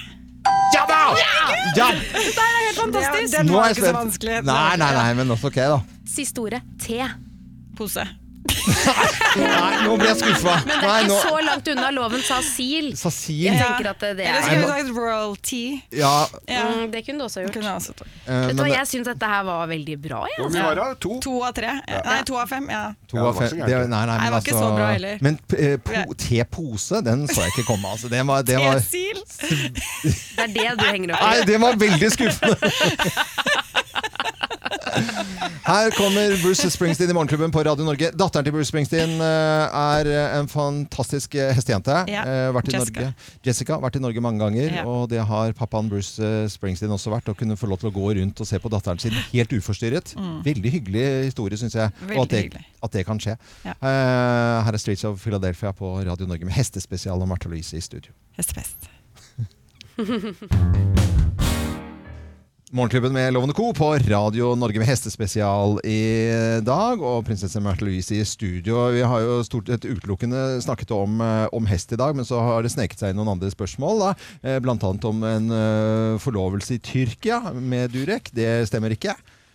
S5: Ja da! Ja!
S4: Det er helt fantastisk.
S5: Nå er jeg spent. Nei, nei, nei, men også ok, da.
S2: Siste ordet te.
S4: Pose.
S5: Nei, nå ble jeg skuffa.
S2: Men det
S5: Nei,
S2: er
S5: nå-
S2: ikke så langt unna loven sa sil.
S5: Sa sil?
S2: Jeg tenker at det
S4: Eller
S2: er
S4: skulle vi sagt royalty?
S5: Ja,
S2: Mm, Det kunne du også gjort.
S5: Eh,
S2: Vet du hva,
S5: men-
S2: Jeg syns dette her var veldig bra. Jeg,
S5: Ja, vi var da, to.
S4: av tre. Nei, to av fem. Ja.
S5: To av fem. Det, nei, nei, men
S4: Nei,
S5: altså-
S4: det var ikke så bra heller.
S5: Men eh, po, tepose, den så jeg ikke komme. Altså. Det var, det var,
S4: Tesil!
S2: Det er det du henger opp
S5: nei, det var veldig skuffende. Her kommer Bruce Springsteen i Morgenklubben på Radio Norge. Datteren til Bruce Springsteen eh, er en fantastisk eh, hestejente.
S4: Ja,
S5: Eh, Vært i
S4: Jessica.
S5: Norge. Jessica har vært i Norge mange ganger,
S4: Ja.
S5: og det har pappaen Bruce eh, Springsteen også vært. Å kunne få lov til å gå rundt og se på datteren sin helt uforstyrret.
S4: Mm.
S5: Veldig hyggelig historie, syns jeg. og
S4: Veldig
S5: at det,
S4: hyggelig.
S5: at det kan skje.
S4: Ja.
S5: Eh, her er Streets of Philadelphia på Radio Norge med hestespesial og Martha Louise i studio.
S4: Hestefest.
S5: Morgenklubben med Lovende Co. på Radio Norge med hestespesial i dag. Og prinsesse Märtha Louise i studio. Vi har jo stort sett utelukkende snakket om, eh, om hest i dag, men så har det sneket seg inn noen andre spørsmål. Da. Eh, Blant annet om en eh, forlovelse i Tyrkia med Durek. Det stemmer ikke.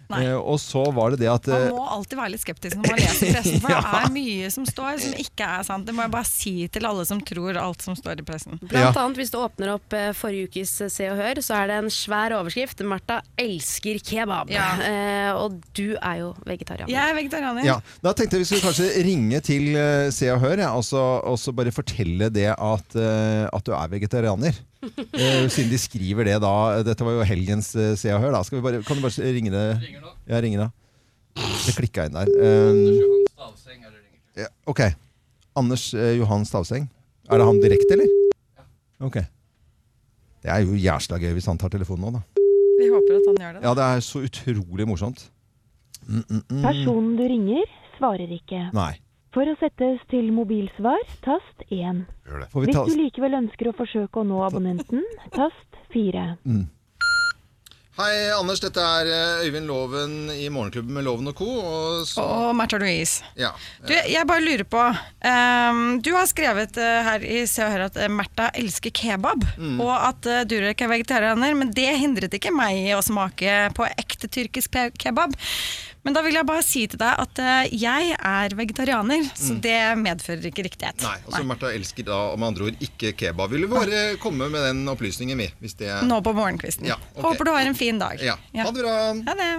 S4: Nei.
S5: Eh, Og så var det det at
S4: Man
S5: eh,
S4: må alltid være litt skeptisk når man leser pressen, for det
S5: Ja.
S4: er mye som står som ikke er sant. Det må jeg bare si til alle som tror alt som står i pressen.
S2: Blant annet hvis du åpner opp eh, forrige ukes eh, Se og Hør, så er det en svær overskrift. Martha elsker kebab. Eh, og du er jo vegetarianer.
S4: Jeg er vegetarianer.
S5: Ja, da tenkte jeg vi skulle kanskje ringe til eh, Se og Hør, ja, og, så, og så bare fortelle det at, eh, at du er vegetarianer. Eh, siden de skriver det da. Dette var jo helgens eh, Se og Hør. Da. Skal vi bare, kan du bare ringe det? Ja, ringe da. Det klikka inn der. Um, ja, ok. Anders eh, Johan Stavseng. Er det han direkte, eller? Ok. Det er jo jævla gøy hvis han tar telefonen nå, da.
S4: Vi håper at han gjør det.
S5: Ja, det er så utrolig morsomt. Mm, mm, mm.
S17: Personen du ringer, svarer ikke.
S5: Nei.
S17: For å settes til mobilsvar, tast 1.
S5: Får vi
S17: Hvis
S5: ta-
S17: du likevel ønsker å forsøke å nå abonnenten, tast 4.
S5: Hei, Anders. Dette er eh, Øyvind Loven i Morgenklubben med Loven og co. Og så,
S4: Og Märtha Louise.
S5: ja.
S4: Du, jeg bare lurer på ehm, Du har skrevet eh, her i Se og Hør at eh, Märtha elsker kebab,
S5: Mm.
S4: og at eh, Durek er vegetarianer, men det hindret ikke meg i å smake på ekte tyrkisk pe- kebab. Men da vil jeg bare si til deg at eh, jeg er vegetarianer, så
S5: Mm.
S4: det medfører ikke riktighet.
S5: Nei, altså Märtha elsker da med andre ord ikke kebab. Vil du bare komme med den opplysningen, vi? Hvis det
S4: Nå på morgenkvisten.
S5: Ja, ok.
S4: Håper du har en fin dag.
S5: Ja.
S4: Ha
S5: det bra.
S4: Ha det.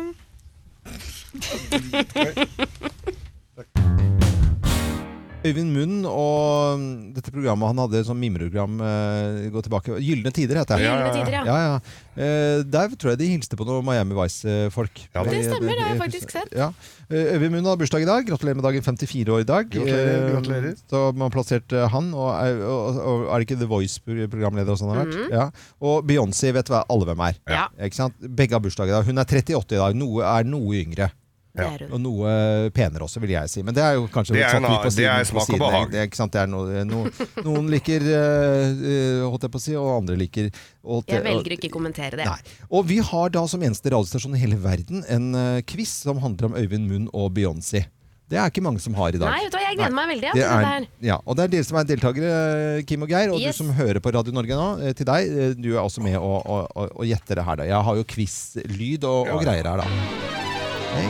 S5: Øyvind Munn og mm, dette programmet han hadde som mimreprogram eh, gå tilbake Gylne tider, heter det.
S2: Gyldne Tider, ja.
S5: ja, ja. Eh, der tror jeg de hilste på noen Miami eh, Vice-folk.
S2: Det stemmer, det har jeg
S5: Eh,
S2: faktisk sett.
S5: Ja. Eh, Øyvind Munn har bursdag i dag. Gratulerer med dagen. 54 år i dag.
S1: Gratulerer,
S5: Eh,
S1: gratulerer.
S5: Så man har plassert eh, han, og er, og, og er det ikke The Voice-programleder og sånn han har vært?
S1: Mhm.
S5: Ja. Og Beyoncé vet hva alle hvem er.
S1: Ja.
S5: Ikke sant? Begge har bursdag i dag. Hun er 38 i dag, noe, er noe yngre.
S1: Det er hun.
S5: Og noe eh, penere også, vil jeg si. Men det er jo kanskje
S1: Det er
S5: litt satt
S1: en
S5: litt på
S1: annen- det
S5: siden.
S1: er
S5: på
S1: smak og
S5: siden,
S1: behag.
S5: Det er, ikke sant? Det er noe, noe, noen liker eh, eh, holdt jeg på å si, og andre liker og,
S2: Jeg velger ikke å kommentere det.
S5: og vi har da som eneste radiostasjon i hele verden en eh, quiz som handler om Øyvind Munn og Beyoncé. Det er ikke mange som har i dag.
S2: Nei, vet du hva, jeg gleder meg veldig, ja,
S5: Det
S2: til dette
S5: er,
S2: her.
S5: ja, og det er dere som er deltakere, eh, Kim og Geir. Og
S2: Yes.
S5: du som hører på Radio Norge nå, eh, til deg. eh, Du er også med og, og, og, og gjetter det her, da. Jeg har jo quiz-lyd og, og greier her, da. Hei.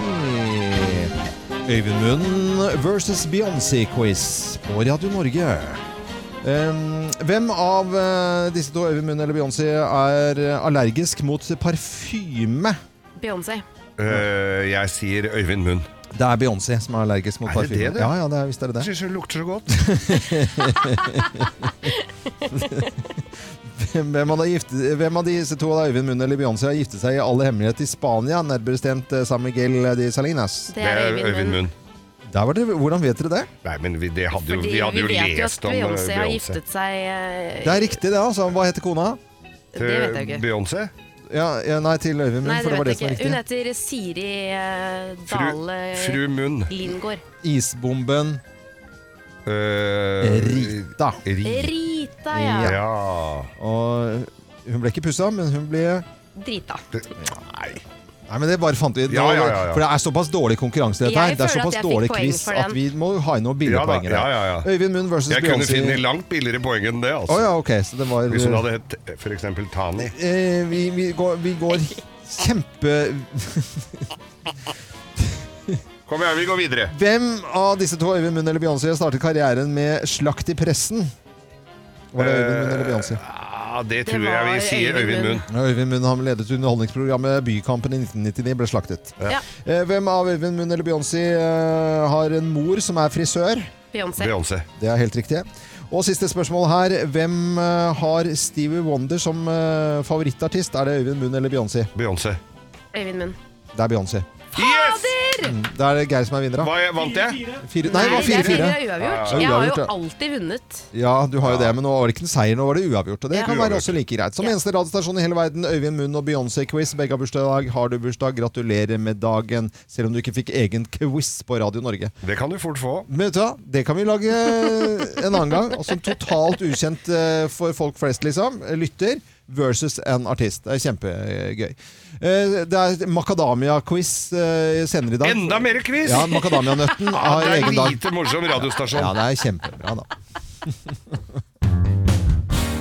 S5: Øyvind Munn versus Beyoncé-quiz på Radio Norge. Um, hvem av eh, disse to, Øyvind Munn eller Beyoncé, er eh, allergisk mot parfyme?
S2: Beyoncé.
S1: Øh, jeg sier Øyvind Munn.
S5: Det er Beyoncé som er allergisk mot
S1: Er det
S5: parfyme.
S1: det, det?
S5: Ja, ja, det er, visst er det det.
S1: Syns hun lukter så godt.
S5: Hvem hvem av, de gifte, hvem av disse to, da, Øyvind Munn eller Beyoncé, har giftet seg i all hemmelighet i Spania? Nærmere bestemt eh, San Miguel de Salinas.
S1: Det er Øyvind Munn. Øyvind Munn.
S5: Der var det, hvordan vet dere det?
S1: Nei, men vi, det hadde jo,
S2: Fordi
S1: vi hadde
S2: vi
S1: jo
S2: vet jo at
S1: lest om eh,
S2: Beyoncé har
S1: Beyoncé.
S2: giftet seg eh,
S5: Det er riktig, det. altså. Hva heter kona?
S2: Det vet jeg ikke.
S1: eh, Beyoncé?
S5: Ja, ja, nei, til Øyvind Munn,
S2: Nei,
S5: for
S2: det
S5: det var
S2: vet
S5: det
S2: jeg
S5: som var
S2: ikke. Hun
S5: riktig.
S2: heter Siri eh, Dale
S1: fru Munn.
S2: Lindgård.
S5: Isbomben.
S1: eh,
S5: Rita.
S2: Rita, ja.
S5: Og hun ble ikke pussa, men hun ble
S2: Drita.
S5: Nei. Nei, men det bare fant vi
S1: Ja, ja, ja, ja.
S5: For det er såpass dårlig konkurranse, dette
S2: Jeg
S5: her. Det er
S2: føler at
S5: såpass
S2: jeg fikk
S5: dårlig
S2: poeng
S5: quiz
S2: for den.
S5: at vi må ha inn noen
S1: Ja da,
S5: billigpoeng i det.
S1: ja, ja, ja.
S5: Øyvind Munn versus
S1: Jeg kunne
S5: Beyoncé.
S1: finne langt billigere poeng enn det, altså.
S5: Å ja, ok, så det var-
S1: Hvis hun hadde hett f.eks. Tani.
S5: Eh, vi, vi, går, vi går kjempe
S1: Kom igjen, vi går videre.
S5: Hvem av disse to, Øyvind Munn eller Beyoncé, startet karrieren med slakt i pressen? Var det Øyvind Munn eller Beyoncé?
S1: Eh, Ja, Ah, det tror jeg vi sier Øyvind Munn.
S5: Ja, Øyvind Munn han ledet underholdningsprogrammet Bykampen i 1999, ble slaktet.
S1: Ja.
S5: Eh, Hvem av Øyvind Munn eller Beyoncé eh, har en mor som er frisør?
S2: Beyoncé.
S5: Det er helt riktig. Og siste spørsmål her. Hvem eh, har Stevie Wonder som eh, favorittartist? Er det Øyvind Munn eller Beyoncé?
S1: Beyoncé.
S2: Øyvind Munn.
S5: Det er Beyoncé.
S2: Fader!
S5: Mm, Da er det Geir som er vinner, da.
S1: Hva vant jeg?
S5: Fire, nei, det var
S2: det er
S5: 4-4.
S2: fire uavgjort.
S5: Ja,
S2: Jeg har
S5: uavgjort,
S2: jo
S5: ja.
S2: alltid vunnet.
S5: Ja, du har jo det, men nå var det ikke en seier, nå var det uavgjort. Og det
S2: Ja.
S5: kan
S2: Uavgjort.
S5: være også like greit. Som eneste radiostasjon i hele verden, Øyvind Munn og Beyoncé-quiz. Begge har bursdag i dag. Har du bursdag, gratulerer med dagen. Selv om du ikke fikk egen quiz på Radio Norge.
S1: Det kan du fort få.
S5: Men vet du hva, det kan vi lage en annen gang. Og som totalt ukjent eh, for folk flest, liksom. Lytter versus en artist. Det er kjempegøy. Eh, Det er makadamia-quiz eh, senere i dag.
S1: Enda mer quiz!
S5: Ja, Makadamia-nøtten
S1: Ja,
S5: har
S1: det er
S5: egen dag.
S1: lite morsom radiostasjon.
S5: Ja, det er kjempebra, da.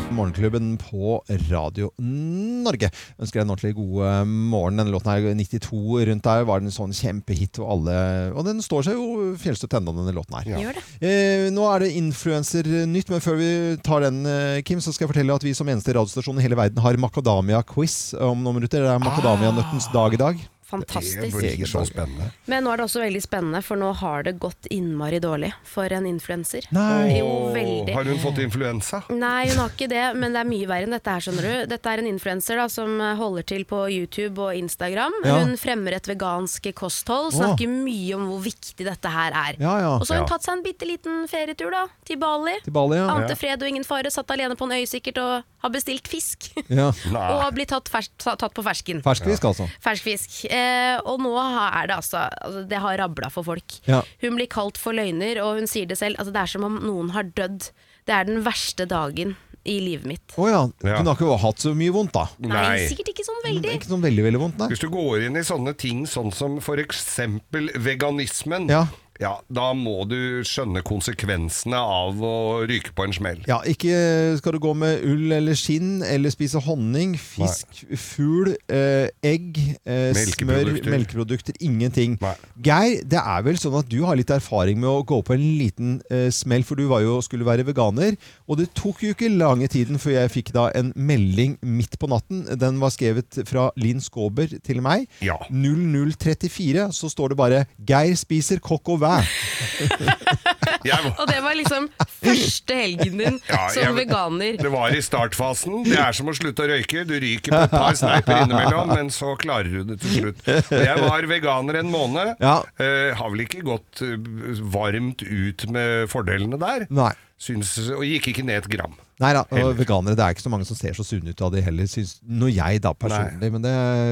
S5: Morgenklubben på Radio Norge ønsker deg en ordentlig god eh, morgen. Denne låten her, 92 rundt der, var en sånn kjempehit, og alle Og den står seg jo fjellstøtt ennå, denne låten her.
S6: Gjør det.
S5: Eh, nå er det influensernytt, men før vi tar den, eh, Kim, så skal jeg fortelle at vi som eneste radiostasjon i hele verden har Makadamia-quiz om noen minutter. Det er Makadamia-nøttens dag i dag.
S2: Fantastisk.
S1: Det blir så spennende.
S2: Men nå er det også veldig spennende, for nå har det gått innmari dårlig for en influenser. Jo, veldig. Mm.
S1: Har hun fått influensa?
S2: Nei, hun har ikke det, men det er mye verre enn dette her, skjønner du. Dette er en influenser da, som holder til på YouTube og Instagram.
S5: Ja.
S2: Hun fremmer et vegansk kosthold,
S5: Åh.
S2: snakker mye om hvor viktig dette her er.
S5: Ja, ja.
S2: Og så har hun
S5: Ja.
S2: tatt seg en bitte liten ferietur da, til Bali.
S5: Til Bali, ja.
S2: Ante
S5: Ja.
S2: fred og ingen fare, satt alene på en øy sikkert og har bestilt fisk.
S5: Ja.
S2: og blir tatt, fers tatt på fersken.
S5: Ferskfisk, altså.
S2: Fersk fisk. Eh, og nå er det altså, altså Det har rabla for folk.
S5: Ja.
S2: Hun blir kalt for løgner, og hun sier det selv. Altså, det er som om noen har dødd. Det er den verste dagen i livet mitt.
S5: Å ja. Hun har ikke hatt så mye vondt, da.
S2: Nei, sikkert ikke sånn veldig.
S5: Ikke sånn veldig, veldig vondt, nei.
S1: Hvis du går inn i sånne ting sånn som for eksempel veganismen,
S5: Ja.
S1: ja, da må du skjønne konsekvensene av å ryke på en smell.
S5: Ja, ikke eh, skal du gå med ull eller skinn, eller spise honning, fisk, fugl, eh, egg, eh, smør,
S1: Melkeprodukter.
S5: melkeprodukter, ingenting. Geir, det er vel sånn at du har litt erfaring med å gå på en liten eh, smell, for du var jo, skulle være veganer, og det tok jo ikke lange tiden før jeg fikk da en melding midt på natten. Den var skrevet fra Linn Skåber til meg. 0034, så står det bare 'Geir spiser kokk og væ'.
S2: Og det var liksom første helgen din
S1: Ja,
S2: som
S1: jeg-
S2: veganer.
S1: Det var i startfasen. Det er som å slutte å røyke. Du ryker på et par sneiper innimellom, men så klarer du det til slutt. Og Jeg var veganer en måned.
S5: Ja.
S1: Eh, har vel ikke gått eh, varmt ut med fordelene der.
S5: Nei.
S1: Syns, og gikk ikke ned et gram.
S5: Nei da, og veganere, det er ikke så mange som ser så sunne ut av det heller, syns nå jeg da personlig. Men, det,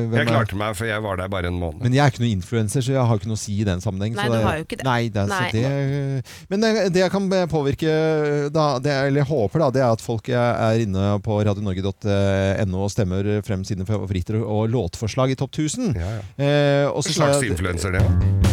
S5: hvem
S1: Jeg
S5: er-
S1: klarte meg, for jeg var der bare en måned.
S5: men jeg er ikke noen influenser, så jeg har ikke noe å si i den sammenheng.
S1: Nei,
S5: så
S1: du har jo ikke det.
S5: Nei, det, er- Så
S1: Nei.
S5: det, men det, det jeg kan påvirke, da, det, eller jeg håper, da, det er at folk er inne på radionorge.no og stemmer frem sine favoritter og låtforslag i topp 1000. Eh, og så
S1: En
S5: sa
S1: slags
S5: jeg-
S1: influenser, det òg.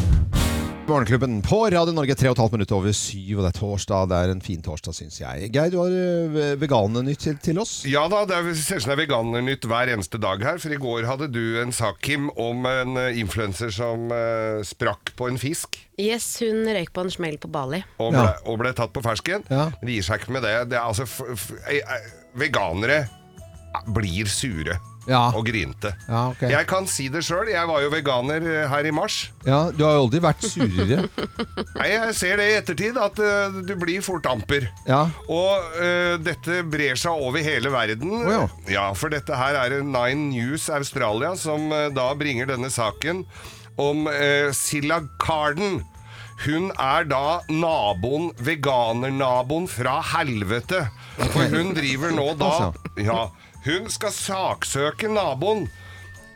S5: Morgenklubben på Radio Norge, tre og et halvt minutt over syv, og det er torsdag. Det er en fin torsdag, syns jeg. Geir, du har eh, veganernytt til, til oss?
S1: Ja da, det er- ser ut som det er veganernytt hver eneste dag her. For i går hadde du en sak, Kim, om en eh, influenser som eh, sprakk på en fisk.
S2: Yes, hun røyk på en smell på Bali.
S1: og ble, og ble tatt på fersken. Men Det gir seg ikke med det. det er, altså, f f eh, eh, veganere blir sure og grinte.
S5: Ja, ok.
S1: Jeg kan si det sjøl, jeg var jo veganer eh, her i mars.
S5: Ja, du har jo aldri vært surere.
S1: Nei, jeg ser det i ettertid, at eh, du blir fort amper.
S5: Ja.
S1: Og eh, dette brer seg over hele verden.
S5: ja.
S1: for dette her er det Nine News Australia som eh, da bringer denne saken om eh, Silla Carden. Hun er da naboen, veganernaboen fra helvete. For hun driver nå da ja, Hun skal saksøke naboen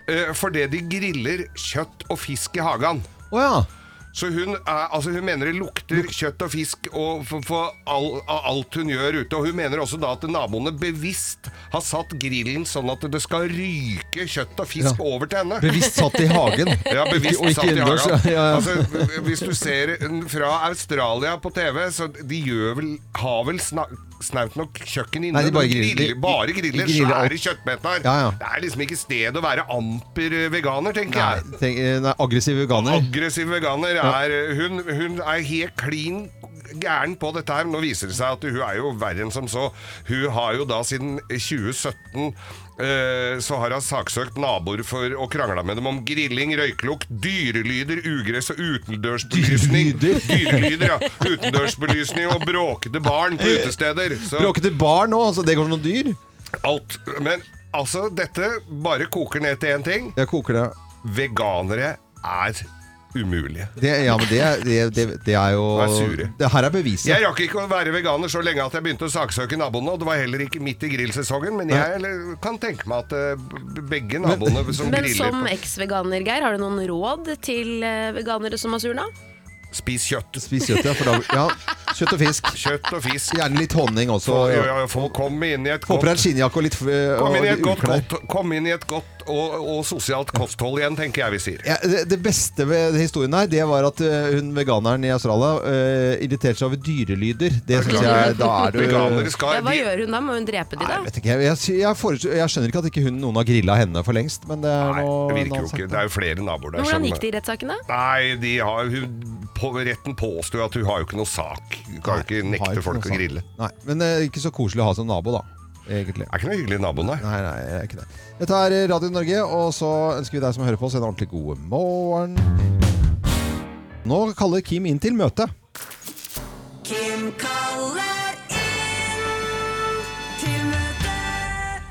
S1: eh, fordi de griller kjøtt og fisk i hagen. Så hun, er, altså hun mener det lukter kjøtt og fisk og for, for all, av alt hun gjør ute. Og hun mener også da at naboene bevisst har satt grillen sånn at det skal ryke kjøtt og fisk over til henne.
S5: Bevisst satt i hagen.
S1: Ja, bevisst
S5: Ikke- og ikke
S1: satt i
S5: innendørs,
S1: hagen.
S5: ja, ja, ja.
S1: Altså, hvis du ser en fra Australia på TV, så de gjør vel, har vel snak, snaut nok kjøkken inne.
S5: Nei, de bare griller.
S1: griller,
S5: De-
S1: bare
S5: de
S1: griller,
S5: griller alt.
S1: svære kjøttbettar.
S5: Ja, ja.
S1: Det er liksom ikke sted å være amper veganer, tenker jeg.
S5: Nei, tenk, eh, nei, aggressiv veganer.
S1: Aggressiv veganer
S5: Ja.
S1: er eh, hun, hun er helt klin gæren på dette her. Nå viser det seg at hun er jo verre enn som så. Hun har jo da siden 2017 eh, så har hun saksøkt naboer for å krangle med dem om grilling, røyklukt, dyrelyder, ugress og utendørsbelysning. Dyrelyder, ja. Utendørsbelysning og bråkete barn på utesteder. Så
S5: Bråkete barn nå, altså. Det går noen dyr.
S1: alt. Men altså, dette bare koker ned til én ting.
S5: Jeg koker det.
S1: Veganere er umulige.
S5: det ja, men det, er- det, det, det er jo
S1: Og er sure.
S5: Det her er beviset.
S1: Jeg rakk ikke å være veganer så lenge at jeg begynte å saksøke naboene, og det var heller ikke midt i grillsesongen, men jeg
S5: Nei.
S1: eller, kan tenke meg at eh, b- begge naboene som
S2: Men
S1: griller
S2: som
S1: på-
S2: eks-veganer, Geir, har du noen råd til eh, veganere som har surna?
S1: Spis kjøtt.
S5: Spis kjøtt, ja, for da, ja. Kjøtt og fisk.
S1: Kjøtt og fisk.
S5: Gjerne litt honning også.
S1: Få- ja, ja, få komme inn i et
S5: Få på deg en
S1: godt
S5: skinnjakke og litt eh,
S1: Kom inn i
S5: og
S1: et
S5: litt
S1: godt,
S5: ullklær.
S1: godt, kom inn i et godt og, og sosialt kosthold igjen, tenker jeg vi sier.
S5: Ja, det, det beste ved historien her, det var at eh, hun veganeren i Australia eh, irriterte seg over dyrelyder. Det synes jeg, da er du
S1: Veganere skal
S2: Ja, hva gjør hun da? Må hun drepe de, da?
S5: Vet ikke, jeg, jeg, sy- jeg, foreslår- jeg skjønner ikke at ikke hun, noen har grilla henne for lengst, men det er
S1: Nei,
S5: noe
S1: det virker jo ikke. Det er jo flere naboer der.
S2: Men hvordan
S1: som-
S2: gikk det i rettssaken, da?
S1: Nei, de har, hun, på, retten påstår jo at hun har jo ikke noe sak. Hun kan jo ikke
S5: har
S1: nekte
S5: ikke
S1: folk
S5: noe
S1: å
S5: sak.
S1: grille.
S5: Nei, men eh, ikke så koselig å ha som nabo, da. Egentlig.
S1: Er ikke noe hyggelig nabo, nei.
S5: Nei, nei, det er ikke det. Dette er eh, Radio Norge, og så ønsker vi deg som hører på oss en ordentlig god morgen. Nå kaller Kim inn til møte.
S6: Kim kaller inn til møte.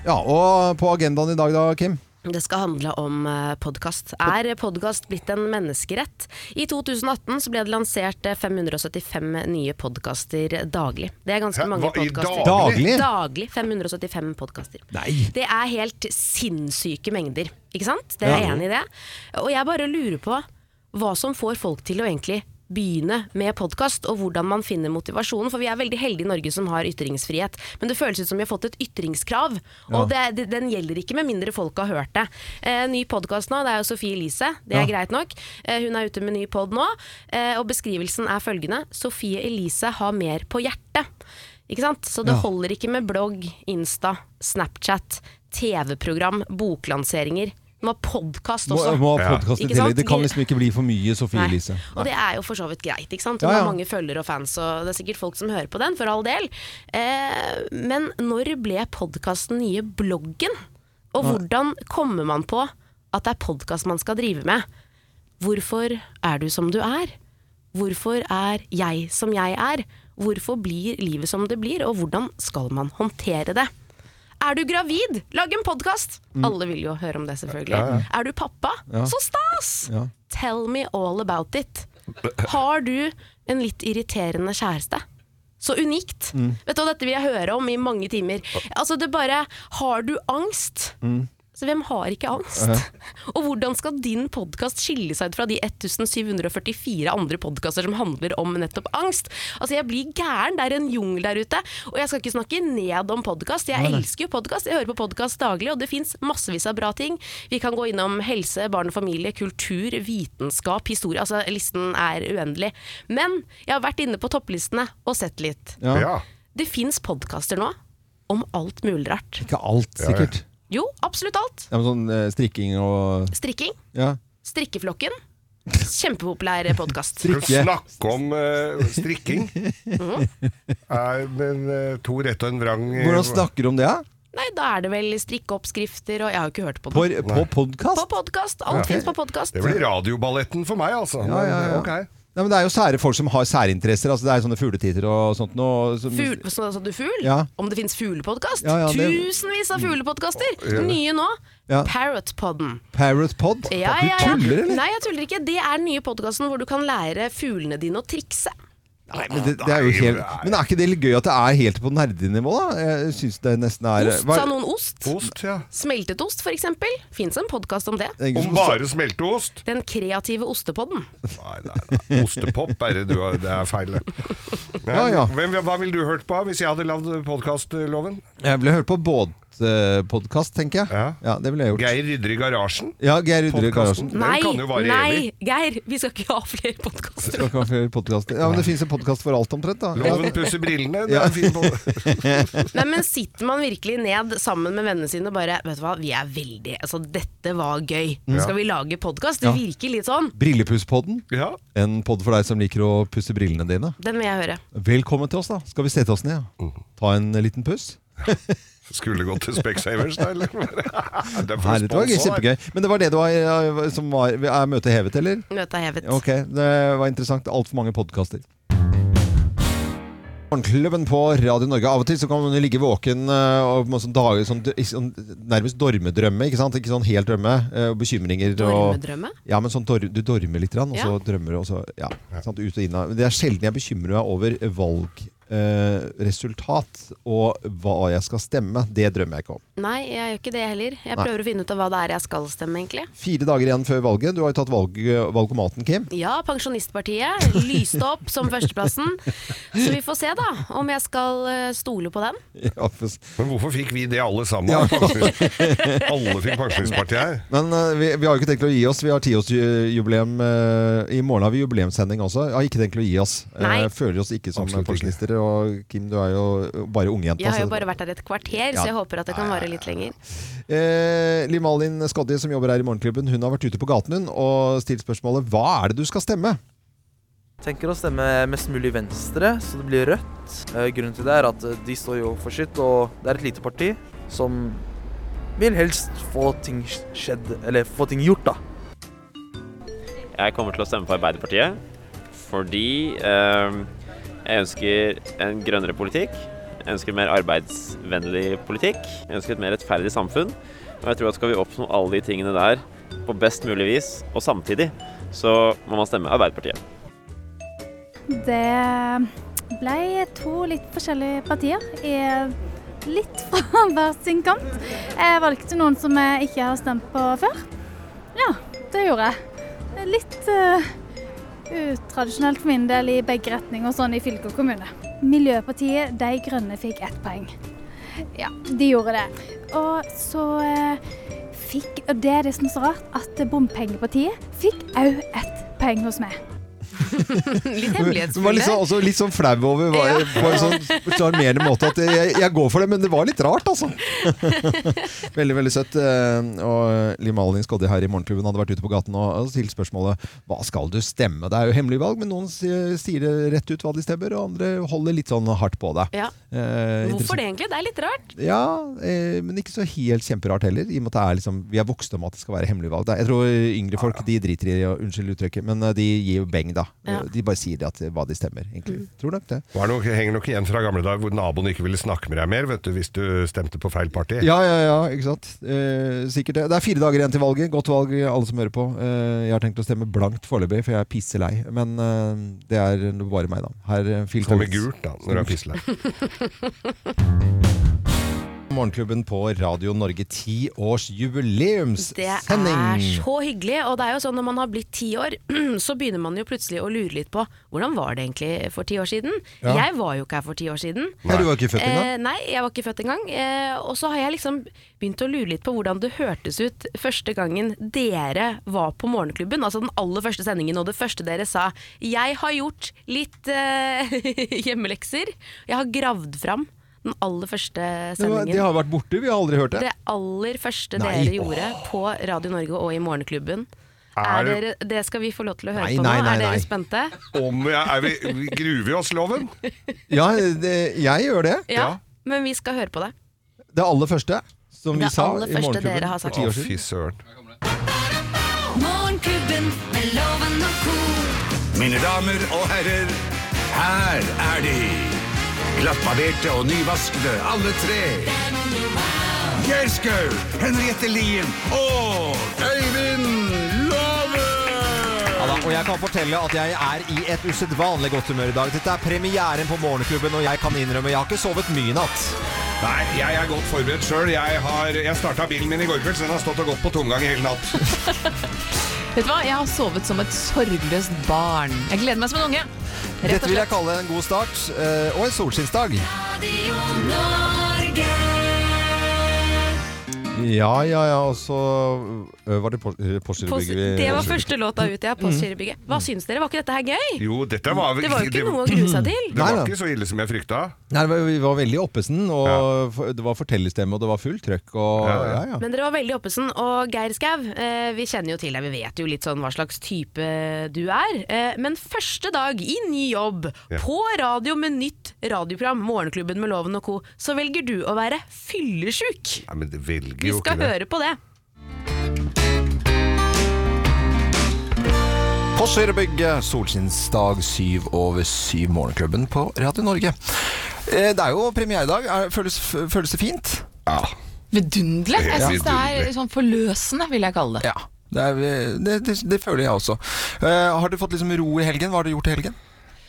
S5: Ja, og på agendaen i dag da, Kim?
S2: Det skal handle om podkast. Er podkast blitt en menneskerett? I 2018 så ble det lansert eh, 575 nye podkaster daglig. Det er ganske
S6: Hæ?
S2: mange
S6: Hva, i
S2: podkaster.
S6: daglig?
S2: Daglig 575 podkaster. Det er helt sinnssyke mengder, ikke sant? Dere
S6: Ja.
S2: er enig i det? Og jeg bare lurer på hva som får folk til å egentlig begynne med podkast, og hvordan man finner motivasjonen. For vi er veldig heldige i Norge som har ytringsfrihet, men det føles ut som vi har fått et ytringskrav.
S6: Ja.
S2: Og det, det, den gjelder ikke med mindre folk har hørt det. Eh, ny podkast nå, det er jo Sofie Elise. Det er
S6: Ja.
S2: greit nok. Eh, hun er ute med ny pod nå, eh, og beskrivelsen er følgende. Sofie Elise har mer på hjertet. Ikke sant? Så det
S6: Ja.
S2: holder ikke med blogg, Insta, Snapchat, TV-program, boklanseringer. Du må ha podkast
S5: Må,
S2: også.
S5: må ha podkast i
S2: Ikke sant?
S5: tillegg. Det kan liksom ikke bli for mye Sofie
S2: Nei.
S5: Elise.
S2: Og det er jo for så vidt greit, ikke sant? Hun
S5: Ja, ja.
S2: har mange følgere og fans, og det er sikkert folk som hører på den, for all del. Eh, men når ble podkasten nye bloggen? Og
S6: Nei.
S2: hvordan kommer man på at det er podkast man skal drive med? Hvorfor er du som du er? Hvorfor er jeg som jeg er? Hvorfor blir livet som det blir, og hvordan skal man håndtere det? Er du gravid? Lag en podkast!
S6: Mm.
S2: Alle vil jo høre om det, selvfølgelig.
S6: Ja, ja.
S2: Er du pappa?
S6: Ja.
S2: Så stas!
S6: Ja.
S2: Tell me all about it. Har du en litt irriterende kjæreste? Så unikt.
S6: Mm.
S2: Vet du, hva, Dette vil jeg høre om i mange timer. Altså det bare, Har du angst? Så Hvem har ikke angst? Og hvordan skal din podkast skille seg ut fra de 1744 andre podkaster som handler om nettopp angst? Altså, jeg blir gæren. Det er en jungel der ute. Og jeg skal ikke snakke ned om podkast. Jeg
S6: Nei, nei.
S2: elsker jo podkast. Jeg hører på podkast daglig, og det fins massevis av bra ting. Vi kan gå innom helse, barn og familie, kultur, vitenskap, historie. Altså, listen er uendelig. Men jeg har vært inne på topplistene og sett litt.
S5: Ja. Ja.
S2: Det fins podkaster nå om alt mulig rart.
S5: Ikke alt, sikkert.
S2: Jo, absolutt alt.
S5: Ja, men sånn eh, strikking og
S2: Strikking.
S5: Ja.
S2: Strikkeflokken. Kjempepopulær podkast.
S1: Skal vi snakke om eh, strikking? Er, men eh, to rett og en vrang eh,
S5: Hvordan snakker du om det, da?
S2: Nei, da er det vel strikkeoppskrifter og Jeg har jo ikke hørt på
S5: På,
S2: den.
S5: på podkast?
S2: På podkast. Alt
S5: Ja.
S2: fins på podkast.
S1: Det blir radioballetten for meg, altså.
S5: Ja, ja, ja. Nei, men det er jo sære folk som har særinteresser. Altså det er sånne fugletitter og sånt noe. Som,
S2: Fugl, så, så du fugl?
S5: Ja.
S2: Om det fins fuglepodkast?
S5: Ja, ja, det-
S2: Tusenvis av fuglepodkaster!
S5: Ja.
S2: Nye nå.
S5: Ja.
S2: Parrotpodden.
S5: Parrot Pod?
S2: Ja, ja, ja.
S5: Du tuller, eller?
S2: Nei, jeg tuller ikke. Det er den nye podkasten hvor du kan lære fuglene dine å trikse.
S5: Nei, men, det, det er jo helt, men er ikke det litt gøy at det er helt på nerdenivå, da? Jeg synes det nesten er
S2: Ost,
S5: Hva-
S2: sa noen ost?
S1: Ost, ja.
S2: Smeltet ost, for eksempel. Fins en podkast om det.
S5: Det er ingen
S1: Om bare smelteost?
S2: Den kreative ostepodden.
S1: Nei, nei, nei. Ostepop er det du har. Det er feil. det. Nei,
S5: Ja, ja.
S1: Hvem, hva ville du hørt på hvis jeg hadde lagd podkastloven?
S5: Jeg ville hørt på både podkast, tenker jeg. Ja. det ville jeg gjort.
S1: Geir rydder i garasjen.
S5: Ja, Geir Rydder i garasjen.
S2: Nei,
S1: kan jo vare
S2: nei, Geir! Vi skal ikke ha flere
S5: Det
S2: podkaster.
S5: skal ikke være flere podcaster. Ja, men det fins en podkast for alt, omtrent. da
S1: Loven pusser brillene, det er en fin
S2: Nei, men sitter man virkelig ned sammen med vennene sine og bare Vet du hva, vi er veldig Altså, dette var gøy.
S5: Ja.
S2: Skal vi lage podkast?
S5: Mm.
S2: Det
S5: Ja.
S2: virker litt sånn.
S5: Brillepusspodden.
S1: Ja.
S5: En podd for deg som liker å pusse brillene dine.
S2: Den vil jeg høre.
S5: Velkommen til oss, da. Skal vi sette oss ned? Ta en liten puss?
S1: Skulle gått til Specsavers, da, eller? Det er for
S5: Nei, det var gøy,
S1: sponsor.
S5: kjempegøy. Men det var det du var, eh, som var Er møtet hevet, eller?
S2: Møtet er hevet.
S5: Ok, det var interessant. Altfor mange podkaster. Morgenklubben på Radio Norge. Av og til så kan man jo ligge våken eh, og med sånn dager, sånn, sånn, nærmest dormedrømme. Ikke sant? Ikke sånn helt drømme. eh, Og bekymringer.
S2: Dormedrømme?
S5: Og, ja, men sånn dor, du dormer litt, grann, og så
S2: Ja.
S5: drømmer du, og så ja, sant? ut og inn av. Det er sjelden jeg bekymrer meg over valgresultat resultat og hva jeg skal stemme. Det drømmer jeg ikke om.
S2: Nei, jeg gjør ikke det heller. Jeg
S5: Nei.
S2: prøver å finne ut av hva det er jeg skal stemme, egentlig.
S5: Fire dager igjen før valget. Du har jo tatt valg, valgomaten, Kim.
S2: Ja, Pensjonistpartiet lyste opp som førsteplassen. Så vi får se, da, om jeg skal eh, stole på den.
S1: Men hvorfor fikk vi det alle sammen?
S5: Ja.
S1: Pensjonist- Alle fikk Pensjonistpartiet her.
S5: Men eh, vi, vi har jo ikke tenkt å gi oss. Vi har tiårsjubileum. eh, I morgen har vi jubileumssending også. Jeg har ikke tenkt å gi oss. Eh,
S2: Nei.
S5: føler oss ikke som
S1: Absolutt ikke.
S5: pensjonister. Og Kim, du er jo bare altså. ungjente.
S2: Jeg har jo
S5: så-
S2: bare vært her et kvarter,
S5: Ja.
S2: så jeg håper at det kan vare litt lenger.
S5: Eh, Liv Malin Skodje, som jobber her i Morgenklubben, hun har vært ute på gaten hun og stilt spørsmålet hva er det du skal stemme?
S18: Tenker å stemme mest mulig venstre, så det blir rødt. Eh, Grunnen til det er at eh, de står jo for sitt, og det er et lite parti som vil helst få ting skjedd, eller få ting gjort, da.
S19: Jeg kommer til å stemme på Arbeiderpartiet fordi eh, jeg ønsker en grønnere politikk. Jeg ønsker mer arbeidsvennlig politikk. Jeg ønsker et mer rettferdig samfunn. Og jeg tror at skal vi oppnå alle de tingene der på best mulig vis og samtidig, så må man stemme Arbeiderpartiet.
S20: Det ble to litt forskjellige partier, i litt fra hver sin kant. Jeg valgte noen som jeg ikke har stemt på før. Ja, det gjorde jeg. Litt eh, utradisjonelt for min del i begge retninger, sånn i fylke og kommune. Miljøpartiet De Grønne fikk ett poeng. Ja, de gjorde det. Og så eh, fikk, og det er det som er så rart, at Bompengepartiet fikk òg ett poeng hos meg.
S2: Litt
S5: Hun var litt sånn, også litt sånn flau over hva, på en sånn sjarmerende måte at jeg, jeg går for det, men det var litt rart, altså. veldig, veldig søtt. eh, Og Liv Malin Skodje her i Morgenklubben hadde vært ute på gaten og og stilt spørsmålet hva skal du stemme? Det er jo hemmelig valg, men noen sier sier det rett ut hva de stemmer, og andre holder litt sånn hardt på det.
S2: Ja.
S5: Eh, interessant.
S2: Hvorfor det, egentlig? Det er litt rart.
S5: Ja, eh, men ikke så helt kjemperart heller. I og med at det er liksom, Vi er vokst om at det skal være hemmelig valg. Da. Jeg tror yngre folk de driter i å Unnskyld uttrykket, men eh, de gir jo beng, da. Eh,
S1: Ja.
S5: De bare sier det at, hva de stemmer, egentlig.
S2: Mm.
S5: Tror nok det.
S1: Det er nok, henger nok igjen fra gamle dager hvor naboen ikke ville snakke med deg mer vet du, hvis du stemte på feil parti.
S5: Ja, ja, ja, ikke sant. Eh, sikkert det. Det er fire dager igjen til valget. Godt valg, alle som hører på. Eh, jeg har tenkt å stemme blankt foreløpig, for jeg er pisselei. Men eh, det er bare meg, da. Her, eh, Phil
S1: Stemme
S5: Collins.
S1: gult, da, når du er pisselei.
S5: Morgenklubben på Radio Norge, ti års
S2: Det
S5: jubileumssending.
S2: er så hyggelig. Og det er jo sånn når man har blitt ti år, så begynner man jo plutselig å lure litt på hvordan var det egentlig for ti år siden?
S5: Ja.
S2: Jeg var jo ikke her for ti år siden.
S5: Nei, du var ikke født engang.
S2: Eh, nei, jeg var ikke født engang. Eh, og så har jeg liksom begynt å lure litt på hvordan det hørtes ut første gangen dere var på Morgenklubben. Altså den aller første sendingen og det første dere sa. Jeg har gjort litt eh, hjemmelekser. Jeg har gravd fram den aller første
S5: Det, var,
S2: sendingen.
S5: det har vært borte, vi har aldri hørt det.
S2: Det aller første
S5: Nei.
S2: dere gjorde på Radio Norge og i Morgenklubben.
S1: Er
S2: Er
S1: det-
S2: dere, det skal vi få lov til å høre
S5: Nei,
S2: på
S5: nei,
S2: nå.
S5: nei,
S2: Er
S5: nei.
S2: dere spente?
S1: Om vi er, er vi, vi gruver vi oss, Loven?
S5: Ja, det, jeg gjør det.
S2: Ja, men vi skal høre på det.
S5: Det aller første som vi
S2: Det
S5: sa
S2: aller
S5: i
S2: første
S5: Morgenklubben
S2: dere har
S5: for
S2: sagt.
S5: ti år
S2: Å, fy
S1: søren.
S6: Morgenklubben med loven og ko.
S8: Mine damer og herrer, her er de. Glattbarberte og nyvaskede, alle tre. Geir Skau, Henriette Lien og Øyvind Love!
S5: Ja da, og jeg kan fortelle at jeg er i et usedvanlig godt humør i dag. Dette er premieren på Morgenklubben, og jeg kan innrømme jeg har ikke sovet mye i natt.
S1: Nei, jeg er godt forberedt sjøl. Jeg, har- jeg starta bilen min i går kveld, så den har stått og gått på tomgang i hele natt.
S21: Vet du hva, jeg har sovet som et sorgløst barn. Jeg gleder meg som en unge. Rett
S5: Dette
S21: og
S5: vil jeg
S21: slett.
S5: kalle en god start, eh, og en solskinnsdag.
S6: Radio Norge.
S5: Ja, ja, ja. Og så ø, var det Pors- eh, ø, Porsgrunn-bygget vi
S2: Det var første låta ut, ja.
S5: Mm.
S2: Postgirobygget. Hva syns dere? Var ikke dette her gøy?
S1: Jo, dette var
S2: Det var jo ikke noe å grue seg til.
S1: Det var ikke så ille som jeg frykta.
S5: Nei, det var- vi var veldig oppesen, og f- det var fortellerstemme, og det var fullt trøkk. Og, ja, ja.
S2: Men dere var veldig oppesen, og Geir Skau, eh, vi kjenner jo til deg, vi vet jo litt sånn hva slags type du er. Eh, men første dag i ny jobb,
S3: Ja.
S2: på radio med nytt radioprogram, Morgenklubben med Loven og co., så velger du å være fyllesjuk.
S1: Nei, men det velger
S2: Vi
S1: jo
S2: skal
S1: ikke det.
S2: høre på det.
S5: Porsgrunnbygget, solskinnsdag syv over syv, Morgenklubben på Radio Norge. Eh, Det er jo premiere i dag. Er- Føles, f- føles det fint? Ja.
S21: Vidunderlig. Jeg
S5: Ja.
S21: syns det er
S5: Vidunderlig.
S21: sånn forløsende, vil jeg kalle det.
S5: Det, er, eh, det, det, det føler jeg også. Eh, har du fått liksom ro i helgen? Hva har du gjort i helgen?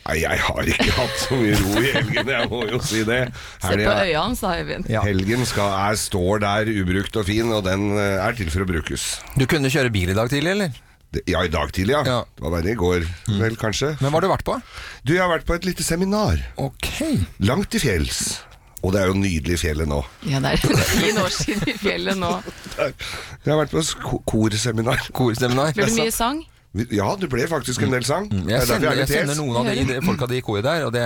S1: Nei, jeg har ikke hatt så mye ro i helgen, jeg må jo si det.
S21: Se på
S1: Helgen-
S21: øya hans, da, Øyvind.
S1: Helgen skal, er, står der ubrukt og fin, og den eh, er til for å brukes.
S5: Du kunne kjøre bil i dag tidlig, eller?
S1: Ja, i dag tidlig, ja. Det var verre i går,
S5: Mm.
S1: vel kanskje.
S5: Men hva har du vært på?
S1: Du, Jeg har vært på et lite seminar. Langt til fjells. Og det er jo nydelig i fjellet nå.
S21: Ja, det er ti år siden i fjellet nå.
S1: Jeg har vært på sk- korseminar.
S5: Korseminar?
S21: Blir det mye sang?
S1: Ja, det ble faktisk en del sang.
S5: Mm, Jeg kjenner, jeg kjenner noen av de, de folka de i koret der, og det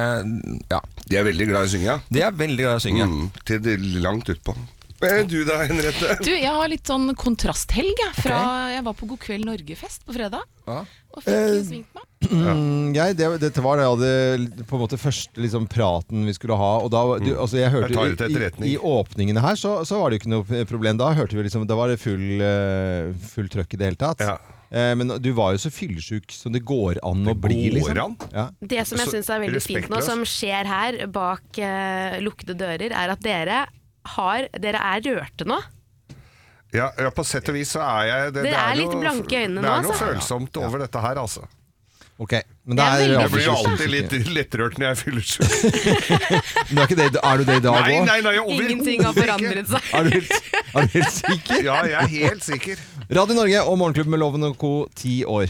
S5: ja.
S1: De er veldig glad i å synge.
S5: De er veldig glad i å synge.
S1: Mm, til det langt utpå. Hva er du da, Henriette?
S21: Du, jeg har litt sånn kontrasthelg, jeg. Fra jeg var på God kveld Norge-fest på fredag. Og fikk jo svingt meg.
S5: Mm, jeg, det, dette var det jeg hadde på en måte første liksom, praten vi skulle ha. Og da, var- du,
S1: Mm.
S5: altså, jeg hørte
S1: Jeg tar
S5: jo
S1: det til etterretning.
S5: i, i, I åpningene her så, så var det jo ikke noe problem. Da hørte vi liksom, da var det full, eh, full trøkk i det hele tatt. Eh, Men du var jo så fyllesyk som det går an å bli.
S1: går
S5: liksom.
S1: an?
S5: Ja.
S2: Det som jeg syns er veldig fint nå, som skjer her bak eh, lukkede dører, er at dere har Dere er rørte nå.
S1: Ja, ja, på sett og vis så er jeg
S2: Dere er litt blanke i øynene
S1: Det
S2: nå,
S1: er noe
S2: altså.
S1: følsomt over dette her, altså.
S5: Ok, men det er,
S1: jeg blir jo alltid litt lettrørt når jeg fyller sjuk.
S5: Men det er, ikke det, er du det i dag
S1: Nei,
S5: også?
S1: nei, nei, overhodet
S2: Ingenting har forandret seg.
S5: Er du helt, er du helt sikker?
S1: Ja, jeg er helt sikker.
S5: Radio Norge og Morgenklubben med Loven og Co. ti år.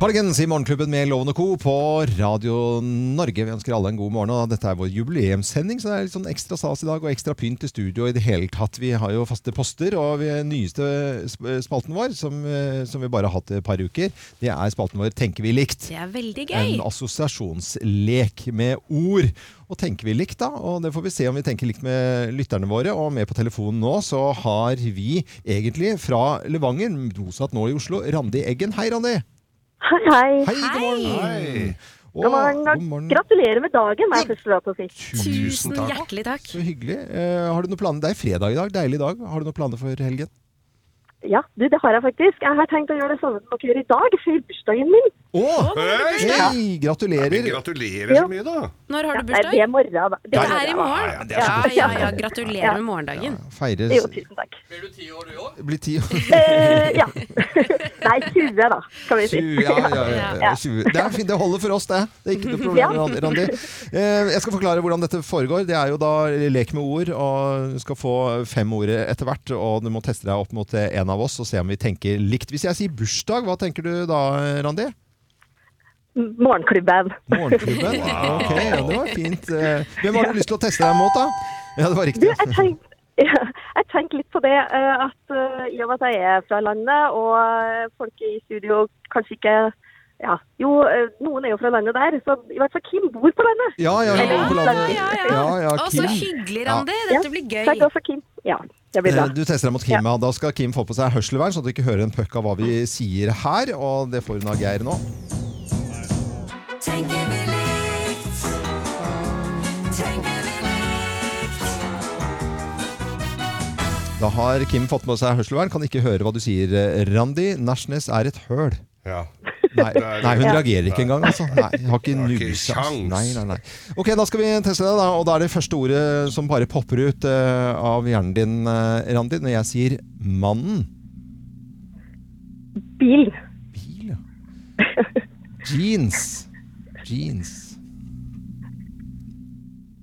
S5: Halgens i Morgenklubben med Loven og Co. på Radio Norge. Vi ønsker alle en god morgen. og Dette er vår jubileumssending, så det er litt sånn ekstra stas i dag. Og ekstra pynt i studio i det hele tatt. Vi har jo faste poster, og vi nyeste sp- spalten vår, som, eh, som vi bare har hatt et par uker, det er spalten vår Tenker vi likt.
S2: Det er veldig gøy.
S5: En assosiasjonslek med ord. Og tenker vi likt, da? Og det får vi se om vi tenker likt med lytterne våre. Og med på telefonen nå så har vi egentlig fra Levanger, bosatt nå i Oslo, Randi Eggen. Hei, Randi!
S22: Hei, hei.
S5: Hei, god morgen! Hei. Og-
S22: God morgen.
S5: god morgen.
S22: Gratulerer med dagen, må jeg først få lov til å si.
S5: Tusen takk.
S22: hjertelig takk.
S5: Så hyggelig. Eh, har du noen planer? Det er fredag i dag, deilig dag. Har du noen planer for helgen?
S22: Ja, du, det har jeg faktisk. Jeg har tenkt å gjøre det samme som dere gjør i dag, før bursdagen min.
S5: Å!
S22: Hei!
S5: Hei, gratulerer!
S1: gratulerer
S22: så
S1: mye, da!
S2: Når har du
S22: Ja,
S2: bursdag?
S22: det er i morgen. da.
S2: Det
S22: morgen,
S2: er i
S22: da.
S2: morgen.
S22: Ja,
S2: Ja, ja, ja.
S22: Ja.
S2: Gratulerer med morgendagen.
S5: Feires
S22: Jo, tusen takk.
S5: Blir ti år.
S22: Eh, ja. Nei, 20 da, kan vi si.
S5: Tjue, ja, ja, ja, ja. Tjue. Det, er fint, det holder for oss, det. Det er ikke noe problem,
S22: Ja.
S5: Randi. Eh, Jeg skal forklare hvordan dette foregår. Det er jo da lek med ord, og du skal få fem ord etter hvert. Og du må teste deg opp mot en av oss og se om vi tenker likt. Hvis jeg sier bursdag, hva tenker du da, Randi?
S22: Morgenklubben.
S5: Morgenklubben?
S22: Wow.
S5: Ok, ja, det var fint. Eh, Hvem har du lyst til å teste deg mot, da? Ja, det var riktig.
S22: Ja, jeg tenker litt på det eh, at eh, i og med at jeg er fra landet, og eh, folk i studio kanskje ikke ja, Jo, eh, noen er jo fra landet der, så i hvert fall Kim bor på landet.
S5: Ja, ja, hun bor på landet.
S22: Ja, ja,
S5: Ja, ja,
S22: Å,
S5: Kim.
S22: så hyggelig,
S5: Ja.
S22: Randi. Dette blir gøy. Takk også, Kim. Ja, det blir bra.
S5: Eh, Du tester deg mot Kim. Ja. Da skal Kim få på seg hørselvern, så du ikke hører en puck av hva vi sier her. Og det får hun av Geir nå.
S6: Tenker vi likt? Tenker vi
S5: Da har Kim fått med seg hørselvern. Kan ikke høre hva du sier, eh, Randi. Nærsnes er et høl.
S1: Ja.
S5: Nei,
S1: Det er-
S5: nei, hun
S1: Ja.
S5: reagerer ikke engang, altså. Nei, har ikke nuse. Altså.
S1: sjans.
S5: Nei, nei, nei. Ok, da skal vi teste deg, da. Og da er det første ordet som bare popper ut eh, av hjernen din, eh, Randi, når jeg sier 'mannen'.
S22: Bil.
S5: Jeans. Jeans.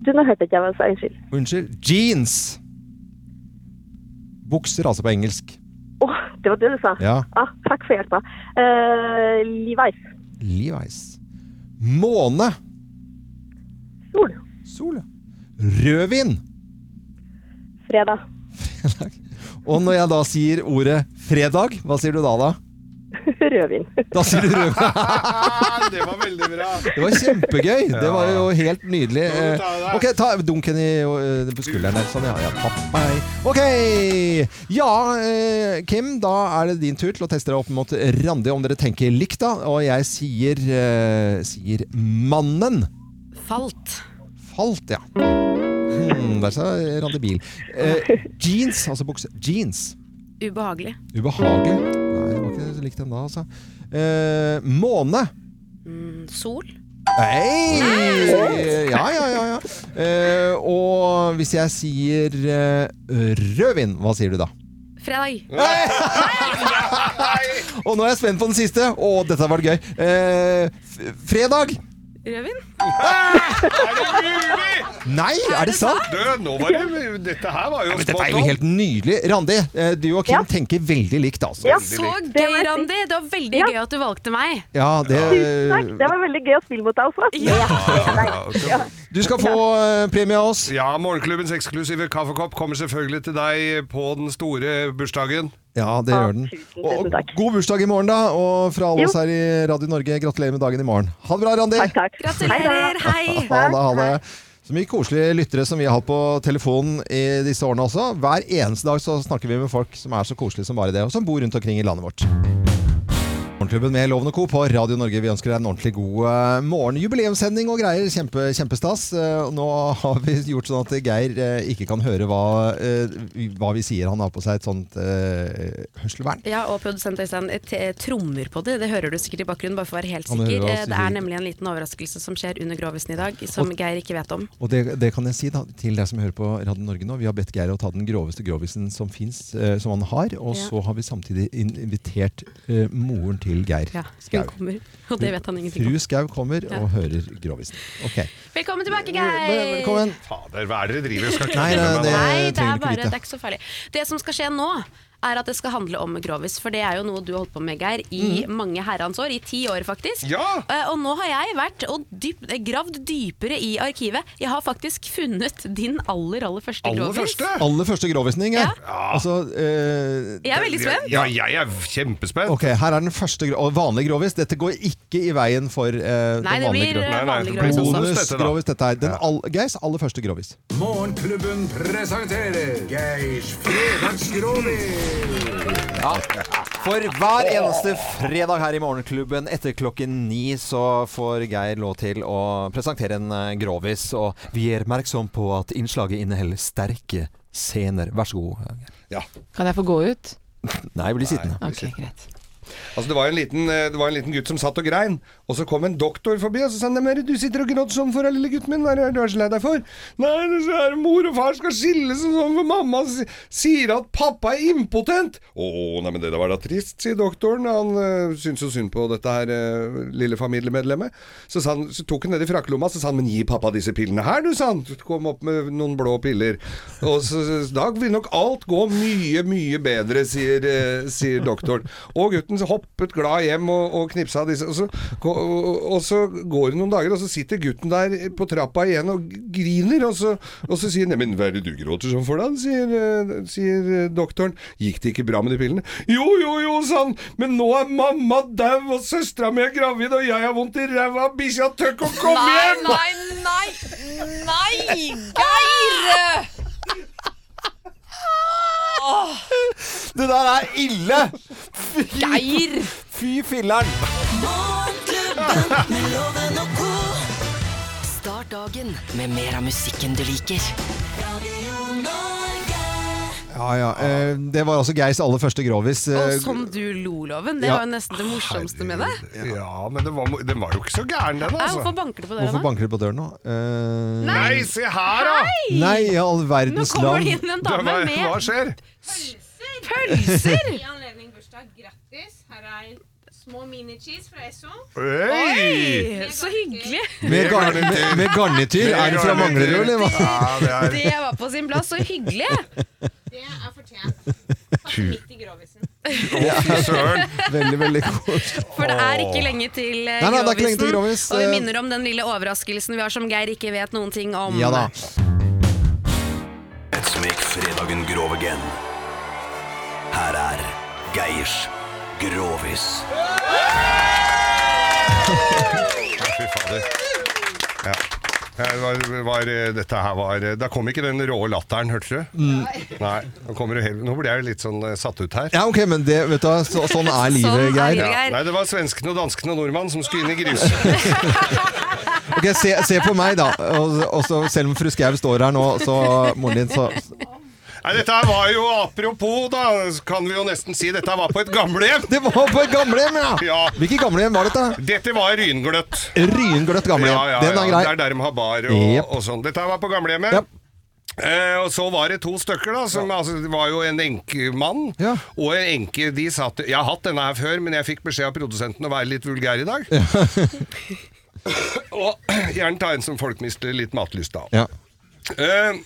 S22: Du, nå hørte ikke jeg hva jeg sa. Unnskyld.
S5: Unnskyld. Jeans! Bukser, altså, på engelsk.
S22: Å, det var det du sa.
S5: Ja.
S22: Ah, takk for hjelpa. Eh, Levi's.
S5: Levi's. Måne.
S22: Sol.
S5: Sol, ja. Rødvin.
S22: Fredag.
S5: Og når jeg da sier ordet fredag, hva sier du da, da?
S22: Rødvin.
S5: Da sier du rødvin.
S1: det var veldig bra.
S5: Det var kjempegøy! Det var jo helt nydelig.
S1: Nå må du ta
S5: Eh, Ok, ta dunken i eh, på skulderen der. Sånn, ja. ja papp, hei. Ok! Ja, eh, Kim, da er det din tur til å teste deg opp mot Randi, om dere tenker likt, da. Og jeg sier, eh, sier mannen.
S2: Falt.
S5: Falt, ja. Hmm, der sa Randi Bil. Eh, jeans, altså bukse. Jeans.
S2: Ubehagelig.
S5: Ubehagelig. Nei, det var ikke likt den da, altså. Eh, måne.
S2: Mm, sol.
S5: Hei! Ja, ja, ja. ja. Eh, og hvis jeg sier eh, rødvin, hva sier du da?
S2: Fredag.
S5: Og nå er jeg spent på den siste. Å, dette har vært gøy. Eh, f- fredag!
S2: Rødvin.
S5: Nei, er det sant?
S1: Du, nå var det Dette her var jo
S5: Men dette er jo helt nydelig. Randi, eh, du og Kim tenker veldig likt, altså.
S2: Ja, så gøy, Randi! Det var veldig gøy at du valgte meg.
S5: Ja, det
S22: Tusen takk. Det var veldig gøy å spille mot deg også.
S5: Du skal få eh, premie av oss.
S1: Ja, Morgenklubbens eksklusive kaffekopp kommer selvfølgelig til deg på den store bursdagen.
S5: Ja, det
S22: Ah,
S5: gjør den. Og, god bursdag i morgen, da. Og fra alle oss her i Radio Norge, gratulerer med dagen i morgen. Ha det bra, Randi.
S2: Gratulerer. Hei.
S5: Ha det, ha det. Så mye koselige lyttere som vi har hatt på telefonen i disse årene også. Hver eneste dag så snakker vi med folk som er så koselige som bare det, og som bor rundt omkring i landet vårt. Morgenklubben med Loven og Co. på Radio Norge. Vi ønsker deg en ordentlig god eh, morgen. Jubileumssending og greier. Kjempe, kjempestas. Eh, Nå har vi gjort sånn at Geir eh, ikke kan høre hva, eh, hva vi sier. Han har på seg et sånt eh, hørselvern.
S2: Ja, og produsent Øystein et- eh, trommer på det. Det hører du sikkert i bakgrunnen, bare for å være helt
S5: Han hører
S2: sikker.
S5: oss
S2: Eh, Det er
S5: sikkert.
S2: nemlig en liten overraskelse som skjer under grovisen i dag, som
S5: Og-
S2: Geir ikke vet om.
S5: Og det, det kan jeg si da, til deg som hører på Radio Norge nå. Vi har bedt Geir å ta den groveste grovisen som fins, eh, som han har. Og
S2: Ja.
S5: så har vi samtidig in- invitert eh, moren til Geir
S2: Ja, hun
S5: Skau.
S2: kommer, og det vet han ingenting om.
S5: Fru Skau kommer
S2: Ja.
S5: og hører grovisen. Ok.
S2: Velkommen tilbake, Geir!
S5: Velkommen.
S1: Fader, hva er det dere driver og skal
S5: Nei,
S1: kødde
S5: nei,
S1: med
S5: det-
S1: nå?
S2: Nei,
S5: trenger du
S2: det er
S5: ikke
S2: bare,
S5: vite.
S2: det er ikke så farlig. Det som skal skje nå, er at det skal handle om grovis. For det er jo noe du har holdt på med, Geir, i
S5: Mm.
S2: mange herrens år. I ti år, faktisk.
S1: Ja!
S2: Eh, Og nå har jeg vært og dyp, eh, gravd dypere i arkivet. Jeg har faktisk funnet din aller, aller første grovis.
S5: Aller første grovisen din, Geir. Altså, eh,
S2: Jeg er veldig spent.
S1: Ja, jeg er kjempespent.
S5: Ok, Her er den første gro- og vanlig grovis. Dette går ikke i veien for eh,
S1: Nei,
S5: den
S1: det
S5: vanlige
S1: blir, eh, Nei, nei, vanlig det blir grovis også. bonus, dette da.
S5: Bonusgrovis, dette er. Den all, Geirs aller første grovis.
S8: Morgenklubben presenterer Geirs fredagsgrovis.
S5: For hver eneste fredag her i Morgenklubben etter klokken ni så får Geir lov til å presentere en eh, grovis. Og vi er oppmerksom på at innslaget inneholder sterke scener. Vær så god. Geir.
S21: Kan jeg få gå ut?
S5: Nei, bli sittende.
S21: Ok, greit.
S1: Altså, det, var en liten, eh, det var en liten gutt som satt og grein, og så kom en doktor forbi og så sa han «Nei, men du sitter og gråter sånn for deg, lille gutten min, hva er det du er så lei deg for? Nei, det så er det mor og far skal skilles og sånn, for mamma si- sier at pappa er impotent. Å, nei, men det der var da trist, sier doktoren, han øh, syns jo synd på dette her eh, lille familiemedlemmet. Så, sa han, så tok han ned i frakkelomma, så sa han, men gi pappa disse pillene her, du, sa han, kom opp med noen blå piller. Og så, så- da vil nok alt gå mye, mye bedre, sier, eh, sier doktoren. Og gutten hoppet glad hjem og, og knipsa disse. Og så, og, og- og så går det noen dager, og så sitter gutten der på trappa igjen og griner. Og så, og så sier han, «Nei, men hva er det du gråter sånn for da, sier, eh, sier eh, doktoren. Gikk det ikke bra med de pillene? Jo, jo, jo, sa han, men nå er mamma dau, og søstera mi er gravid, og jeg har vondt i ræva, bikkja tør ikke å komme hjem!
S6: Nei, nei, nei! Geir!
S5: Det der er ille!
S6: Geir!
S5: Fy filleren!
S6: Morgenklubben med Loven og co. Start dagen med mer av musikken du liker. Radio Norge.
S5: Ja, ja. eh, Det var altså Geirs aller første grovis. eh,
S2: Og som du lo, Loven. Det
S5: Ja.
S2: var jo nesten det morsomste med det.
S1: Ja, men den var, den var jo ikke så gæren, den,
S2: Nei,
S1: altså.
S2: hvorfor banker du på døra
S5: Hvorfor
S2: nå?
S5: banker du på døren nå? Eh,
S1: Nei, se her, da!
S5: Nei, i all verdens
S2: Nå kommer
S5: land.
S2: det inn en dame
S1: Hva-
S2: med
S1: hva skjer?
S2: Pølser!
S3: I anledning bursdag, grattis. Her er små mini-cheese fra Esso.
S1: Oi!
S2: Oi, Så hyggelig!
S5: Med, gar med, med garnityr? Er det fra Manglerud, eller hva?
S1: Ja,
S2: Det var på sin plass. Så hyggelig!
S3: Det er fortjent. Midt i grovisen.
S5: fy søren. Veldig, veldig koselig.
S2: For det er ikke lenge til eh,
S5: Nei, nei, det er ikke lenge
S2: Grovisen.
S5: til Grovis.
S2: Og vi minner om den lille overraskelsen vi har som Geir ikke vet noen ting om.
S5: Ja da.
S8: Et vek fredagen grov again. Her er Geirs Grovis.
S1: Ja, fy fader. Ja. Det Var, var, eh, dette her var Da kom ikke den rå latteren, hørte du?
S5: Mm.
S1: Nei. Nå, kommer du helt, nå ble jeg jo litt sånn eh, satt ut her.
S5: Ja, ok, men det, vet du, hva, så, sånn er livet, Geir.
S1: Ja. Nei, det var svenskene og danskene og nordmannen som skulle inn i grusen.
S5: Ok, se, se på meg, da. Og, og så, selv om fru Skau står her nå, så moren din, så
S1: Nei, dette her var jo apropos, da, kan vi jo nesten si. Dette her var på et gamlehjem.
S5: Det var på et gamlehjem, ja! Hvilket gamlehjem var dette?
S1: Dette var Ryngløtt.
S5: Ryngløtt gamlehjem.
S1: Ja, ja,
S5: Den er grei.
S1: Ja, det er der de har bar og,
S5: Jep.
S1: og sånn. Dette her var på gamlehjemmet. Eh, og så var det to stykker, da. Som, altså, det var jo en enkemann og en enke. De satt Jeg har hatt denne her før, men jeg fikk beskjed av produsenten å være litt vulgær i dag. og gjerne ta en som folk mister litt matlyst av.
S5: Ja.
S1: Eh,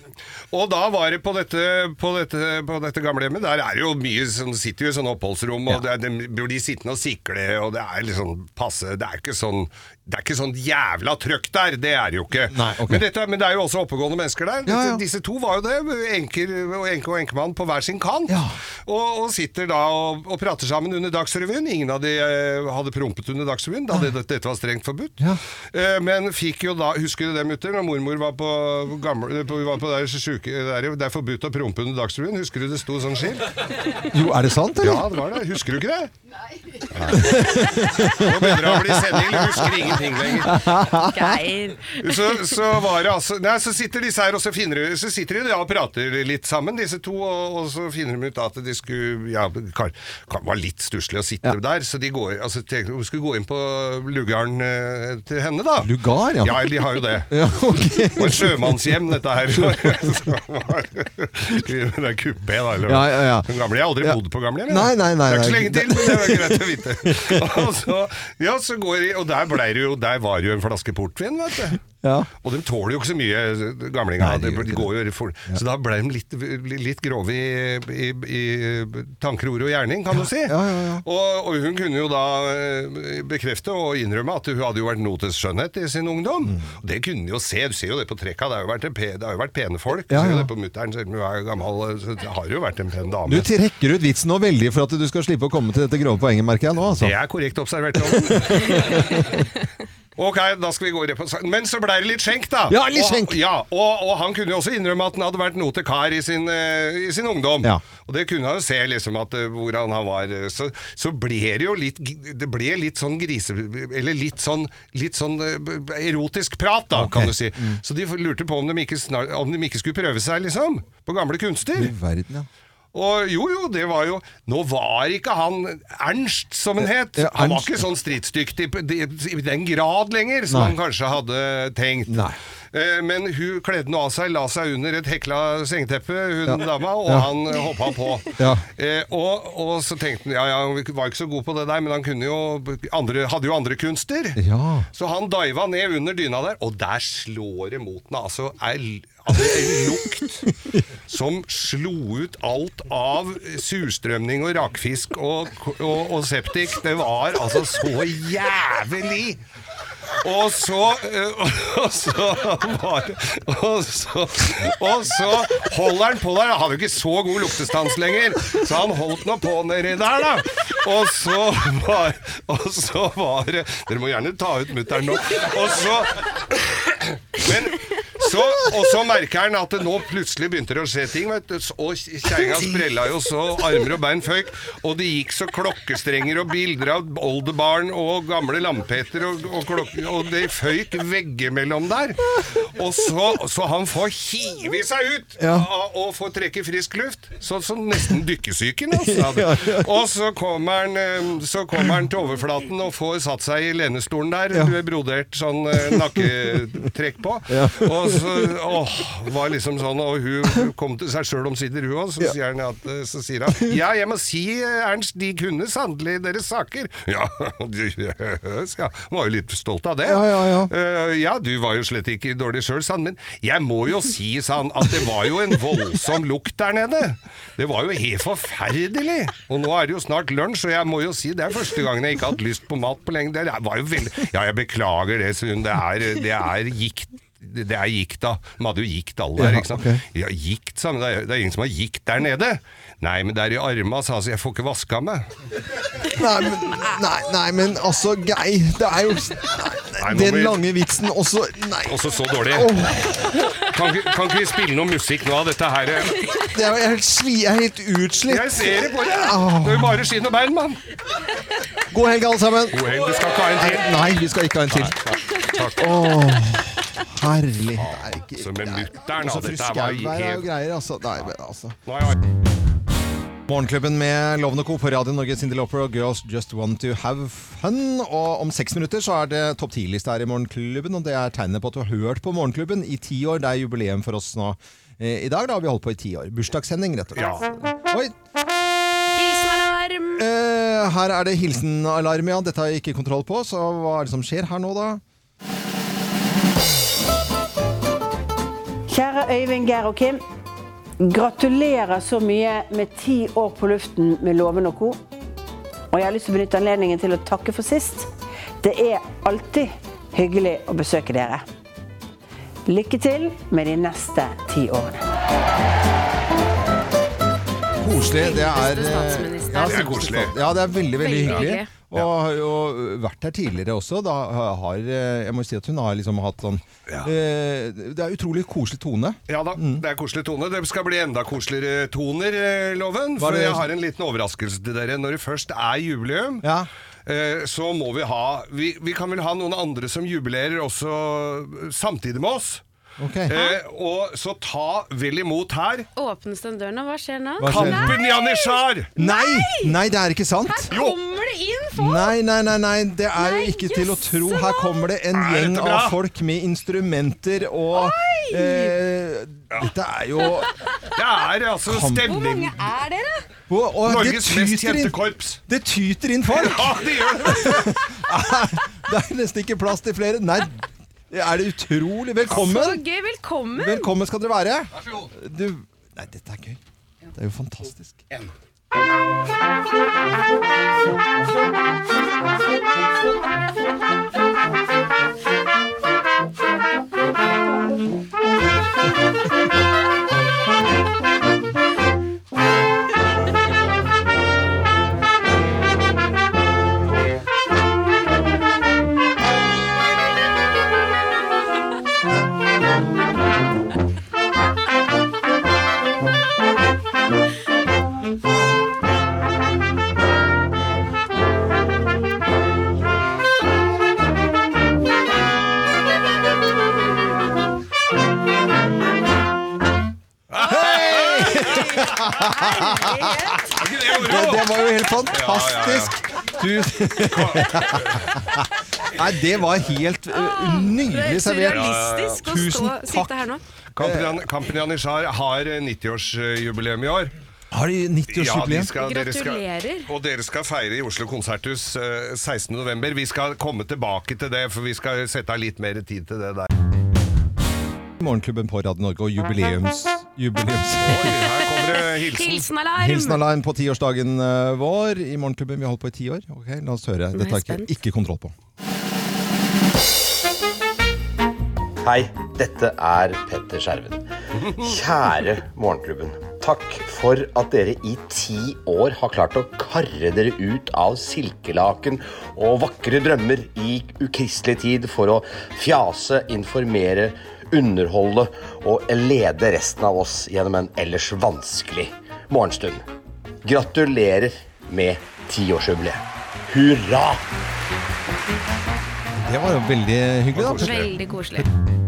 S1: og da var det på dette, på dette, på dette gamlehjemmet Der er det jo mye som sitter jo i sånne oppholdsrom, og det er, de blir de sittende og sikle, og det er liksom passe Det er ikke sånn, det er ikke sånn jævla trøkk der, det er det jo ikke. men, dette, men det er jo også oppegående mennesker der.
S5: Ja, ja.
S1: Dette, disse to var jo det, enker og enke og enkemann på hver sin kant. Og, og sitter da og, og prater sammen under Dagsrevyen. Ingen av de eh, hadde prompet under Dagsrevyen, da det, dette var strengt forbudt. Eh, men fikk jo da, husker du det, mutter, når mormor var på, gamle, på, var på der, sjuke, der, det er forbudt å prompe under Dagsrevyen, husker du det sto sånn skilt?
S5: Jo, er det sant, eller?
S1: Ja, det var det. Husker du ikke det? Nei. Nå begynner det å bli sending, du husker ingenting lenger.
S5: Geir.
S1: Så, så, var det altså, nei, så sitter disse her, og så, finner, de- så sitter de da og prater litt sammen, disse to, og, og så finner de ut at de skulle Ja, det kan, kan være litt stusslig å sitte der, så de går, altså, tenker, de skulle gå inn på lugaren eh, til henne, da.
S5: Lugar, ja.
S1: Ja, de har jo det.
S5: Ja, ok.
S1: Og et sjømannshjem, dette her. Så var det- det er kuppé, da. Eller,
S5: Ja, ja, ja.
S1: Den gamle, jeg har aldri
S5: Ja.
S1: bodd på gamlehjem. jeg.
S5: Nei, nei, nei,
S1: Det er ikke så
S5: nei.
S1: lenge til, men det var greit å vite. Og så, ja, så går de, og der, ble det jo, der var det jo en flaske portvin, vet du.
S5: Ja.
S1: Og de tåler jo ikke så mye, gamlinga. De, de går jo for, Så da ble de litt, litt grove i, i, i tanker, ord og gjerning, kan du si. Og, og hun kunne jo da eh, bekrefte og innrømme at hun hadde jo vært noe til skjønnhet i sin ungdom.
S5: Mm.
S1: Og Det kunne hun jo se, du ser jo det på trekka. Det har jo vært, en pe, det har jo vært pene folk. Du
S5: Ja,
S1: ser jo
S5: ja.
S1: det på mutteren, selv om hun er gammel. Så det har jo vært en pen dame.
S5: Du trekker ut vitsen nå veldig for at du skal slippe å komme til dette grove poenget, merker jeg nå. Altså.
S1: Det er korrekt observert, Loven. Ok, da skal vi gå rett på sak. Men så ble det litt skjenk, da.
S5: Ja, litt skjenk.
S1: Og, ja, og, og han kunne jo også innrømme at han hadde vært noe til kar i sin, eh, i sin ungdom.
S5: Ja.
S1: Og det kunne han jo se, liksom, at eh, hvordan han var. eh, Så, så ble det jo litt g- Det ble litt sånn grise... Eller litt sånn, litt sånn eh, b- b- erotisk prat, da,
S5: Ok. Mm.
S1: kan du si. Så de lurte på om de ikke, snar- om de ikke skulle prøve seg, liksom. På gamle kunster.
S5: I verden, ja.
S1: Og jo, jo, det var jo Nå var ikke han Ernst, som han het.
S5: Ja,
S1: han var
S5: Ernst.
S1: ikke sånn stridsdyktig på- de- i den grad lenger, som
S5: Nei.
S1: han kanskje hadde tenkt. Eh, Men hun kledde nå av seg, la seg under et hekla sengeteppe, hun
S5: Ja.
S1: dama, og
S5: Ja.
S1: han hoppa på.
S5: Ja.
S1: Eh, og, og så tenkte han ja, ja, han var ikke så god på det der, men han kunne jo andre, hadde jo andre kunster.
S5: Ja.
S1: Så han diva ned under dyna der, og der slår det mot den. Altså, er, l- altså en lukt som slo ut alt av surstrømning og rakfisk og, og, og septik. Det var altså så jævlig! Og så, eh, og så var det og så, og så holder han på der. Han har jo ikke så god luktestans lenger, så han holdt nå på nedi der, da. Og så var, og så var det Dere må gjerne ta ut mutter'n nå. Og så så, og så merker han at det nå plutselig begynte det å skje ting. Vet du, og kjerringa sprella jo så armer og bein føyk. Og det gikk så klokkestrenger og bilder av oldebarn og gamle lampeter, og, og, klokke, og det føyk veggimellom der. Og så, så han får hive seg ut
S5: Ja.
S1: og, og får trekke frisk luft. Sånn som nesten dykkesyken. Altså.
S5: Ja, ja.
S1: Og så kommer, han, eh, så kommer han til overflaten og får satt seg i lenestolen der.
S5: Ja.
S1: Du er brodert sånn eh, nakketrekk på.
S5: Ja.
S1: Og så åh, var liksom sånn Og hun kom til seg sjøl omsider, hun òg. Så,
S5: Ja.
S1: sier han at, eh, så sier han Ja, jeg må si, eh, Ernst, de kunne sannelig deres saker. Ja, de- jøss, ja. Han var jo litt stolt av det.
S5: Ja, ja, ja.
S1: Eh, ja, du var jo slett ikke dårlig sjøl, sa han. Men jeg må jo si, sa han, at det var jo en voldsom lukt der nede. Det var jo helt forferdelig. Og nå er det jo snart lunsj, og jeg må jo si det er første gangen jeg ikke har hatt lyst på mat på lenge. Det var jo veldig Ja, jeg beklager det, Sund. Det er, det er gikt det er gikt da. De hadde jo gikt alle der,
S5: Ja,
S1: ikke sant?
S5: ok.
S1: Ja, gikt, sa han. Det er, det er ingen som har gikt der nede. Nei, men det er i arma, sa han, så jeg får ikke vaska meg.
S5: Nei, men, nei, nei, men altså, Geir Det er jo nei,
S1: nå
S5: Den
S1: blir-
S5: lange vitsen også Nei.
S1: Også så dårlig.
S5: Åh.
S1: Kan, ikke- kan ikke vi spille noe musikk nå av dette her? eh?
S5: Det er, jeg, er helt sli, jeg er helt utslitt.
S1: Jeg ser det på deg.
S5: Åh.
S1: Det er jo bare skinn og bein, mann.
S5: God helg, alle sammen.
S1: God helg. Du skal ikke ha en til.
S5: Nei, vi skal ikke ha en til.
S1: Takk. Altså,
S5: Åh, herlig. Det er ikke
S1: Så med mutter'n, da.
S5: Også fru
S1: Dette var
S5: Skau der er jo
S1: helt
S5: greier, altså. Nei, men altså.
S1: Nå har jeg-
S5: Morgenklubben med Lovende Co. på Radio Norge, Cindy Lauper og Girls Just Want To Have Fun. Og om seks minutter så er det topp ti-liste her i Morgenklubben, og det er tegnet på at du har hørt på Morgenklubben i ti år. Det er jubileum for oss nå eh, i dag. Da har vi holdt på i ti år. Bursdagssending, rett og slett. Oi.
S2: Hilsenalarm!
S5: Eh, her er det hilsenalarm, ja. Dette har jeg ikke kontroll på, så hva er det som skjer her nå, da?
S13: Kjære Øyvind, Geir og Kim. Gratulerer så mye med ti år på luften med Loven og Co. Og jeg har lyst til å benytte anledningen til å takke for sist. Det er alltid hyggelig å besøke dere. Lykke til med de neste ti årene.
S5: Koselig. Det er, eh,
S13: Yngste statsminister.
S5: ja,
S13: Det er
S1: koselig.
S5: Ja, det er veldig, veldig
S13: Veldig
S5: hyggelig.
S13: hyggelig.
S5: Og har jo vært her tidligere også. Da har, eh, jeg må si at hun har liksom hatt sånn eh, Det er utrolig koselig tone.
S1: Ja da, det er koselig tone. Det skal bli enda koseligere toner, eh, Loven. For
S5: Var det-
S1: jeg har en liten overraskelse til dere. Når det først er jubileum, eh, så må vi ha vi, vi kan vel ha noen andre som jubilerer også samtidig med oss. Eh, og så ta vel imot her
S2: Åpnes den døren, og hva skjer nå?
S1: Hva skjer? Kampen i Anishar!
S5: Nei! Nei, det er ikke sant!
S2: Her kommer det inn folk!
S5: Nei, nei, nei, nei, det er jo ikke til å tro. Her kommer det en
S1: Er dette
S5: gjeng
S1: bra?
S5: av folk med instrumenter og eh, Dette er jo
S1: Det er altså
S5: Kampen.
S1: stemning
S2: Er dere?
S5: og, og det
S1: Norges mest
S5: tyter inn-
S1: kjente korps.
S5: Det tyter inn folk!
S1: Ja, det gjør det!
S5: Det er nesten ikke plass til flere. Nei, det er det utrolig.
S2: Så
S5: Velkommen!
S2: gøy, velkommen!
S5: Velkommen skal dere være.
S2: Vær så god.
S5: Du, nei, dette er gøy. Det er jo fantastisk. Det, det var jo helt fantastisk. Du Nei, det var helt uh, nydelig servert.
S2: Surrealistisk å stå,
S5: Tusen takk.
S2: sitte her nå.
S1: Kampen i An- Kampen i Anishar har eh, 90-årsjubileum i år.
S5: Har de 90-årsjubileum?
S1: Ja, de skal- dere skal-
S2: Gratulerer.
S1: Og dere skal feire i Oslo Konserthus eh, 16. november. Vi skal komme tilbake til det, for vi skal sette av litt mer tid til det der.
S5: Morgenklubben på Radio Norge og jubileums... Jubileums...
S1: Her kommer det hilsen.
S2: Hilsenalarm!
S5: Hilsenalarm på tiårsdagen eh, vår i Morgenklubben. Vi har holdt på i ti år. Ok, La oss høre. Dette har jeg ikke, ikke kontroll på.
S17: Hei, dette er Petter Skjerven. Kjære Morgenklubben. Takk for at dere i ti år har klart å karre dere ut av silkelaken og vakre drømmer i ukristelig tid for å fjase, informere, underholde og lede resten av oss gjennom en ellers vanskelig morgenstund. Gratulerer med tiårsjubileet. Hurra!
S5: Det var jo veldig hyggelig, da.
S2: Veldig koselig.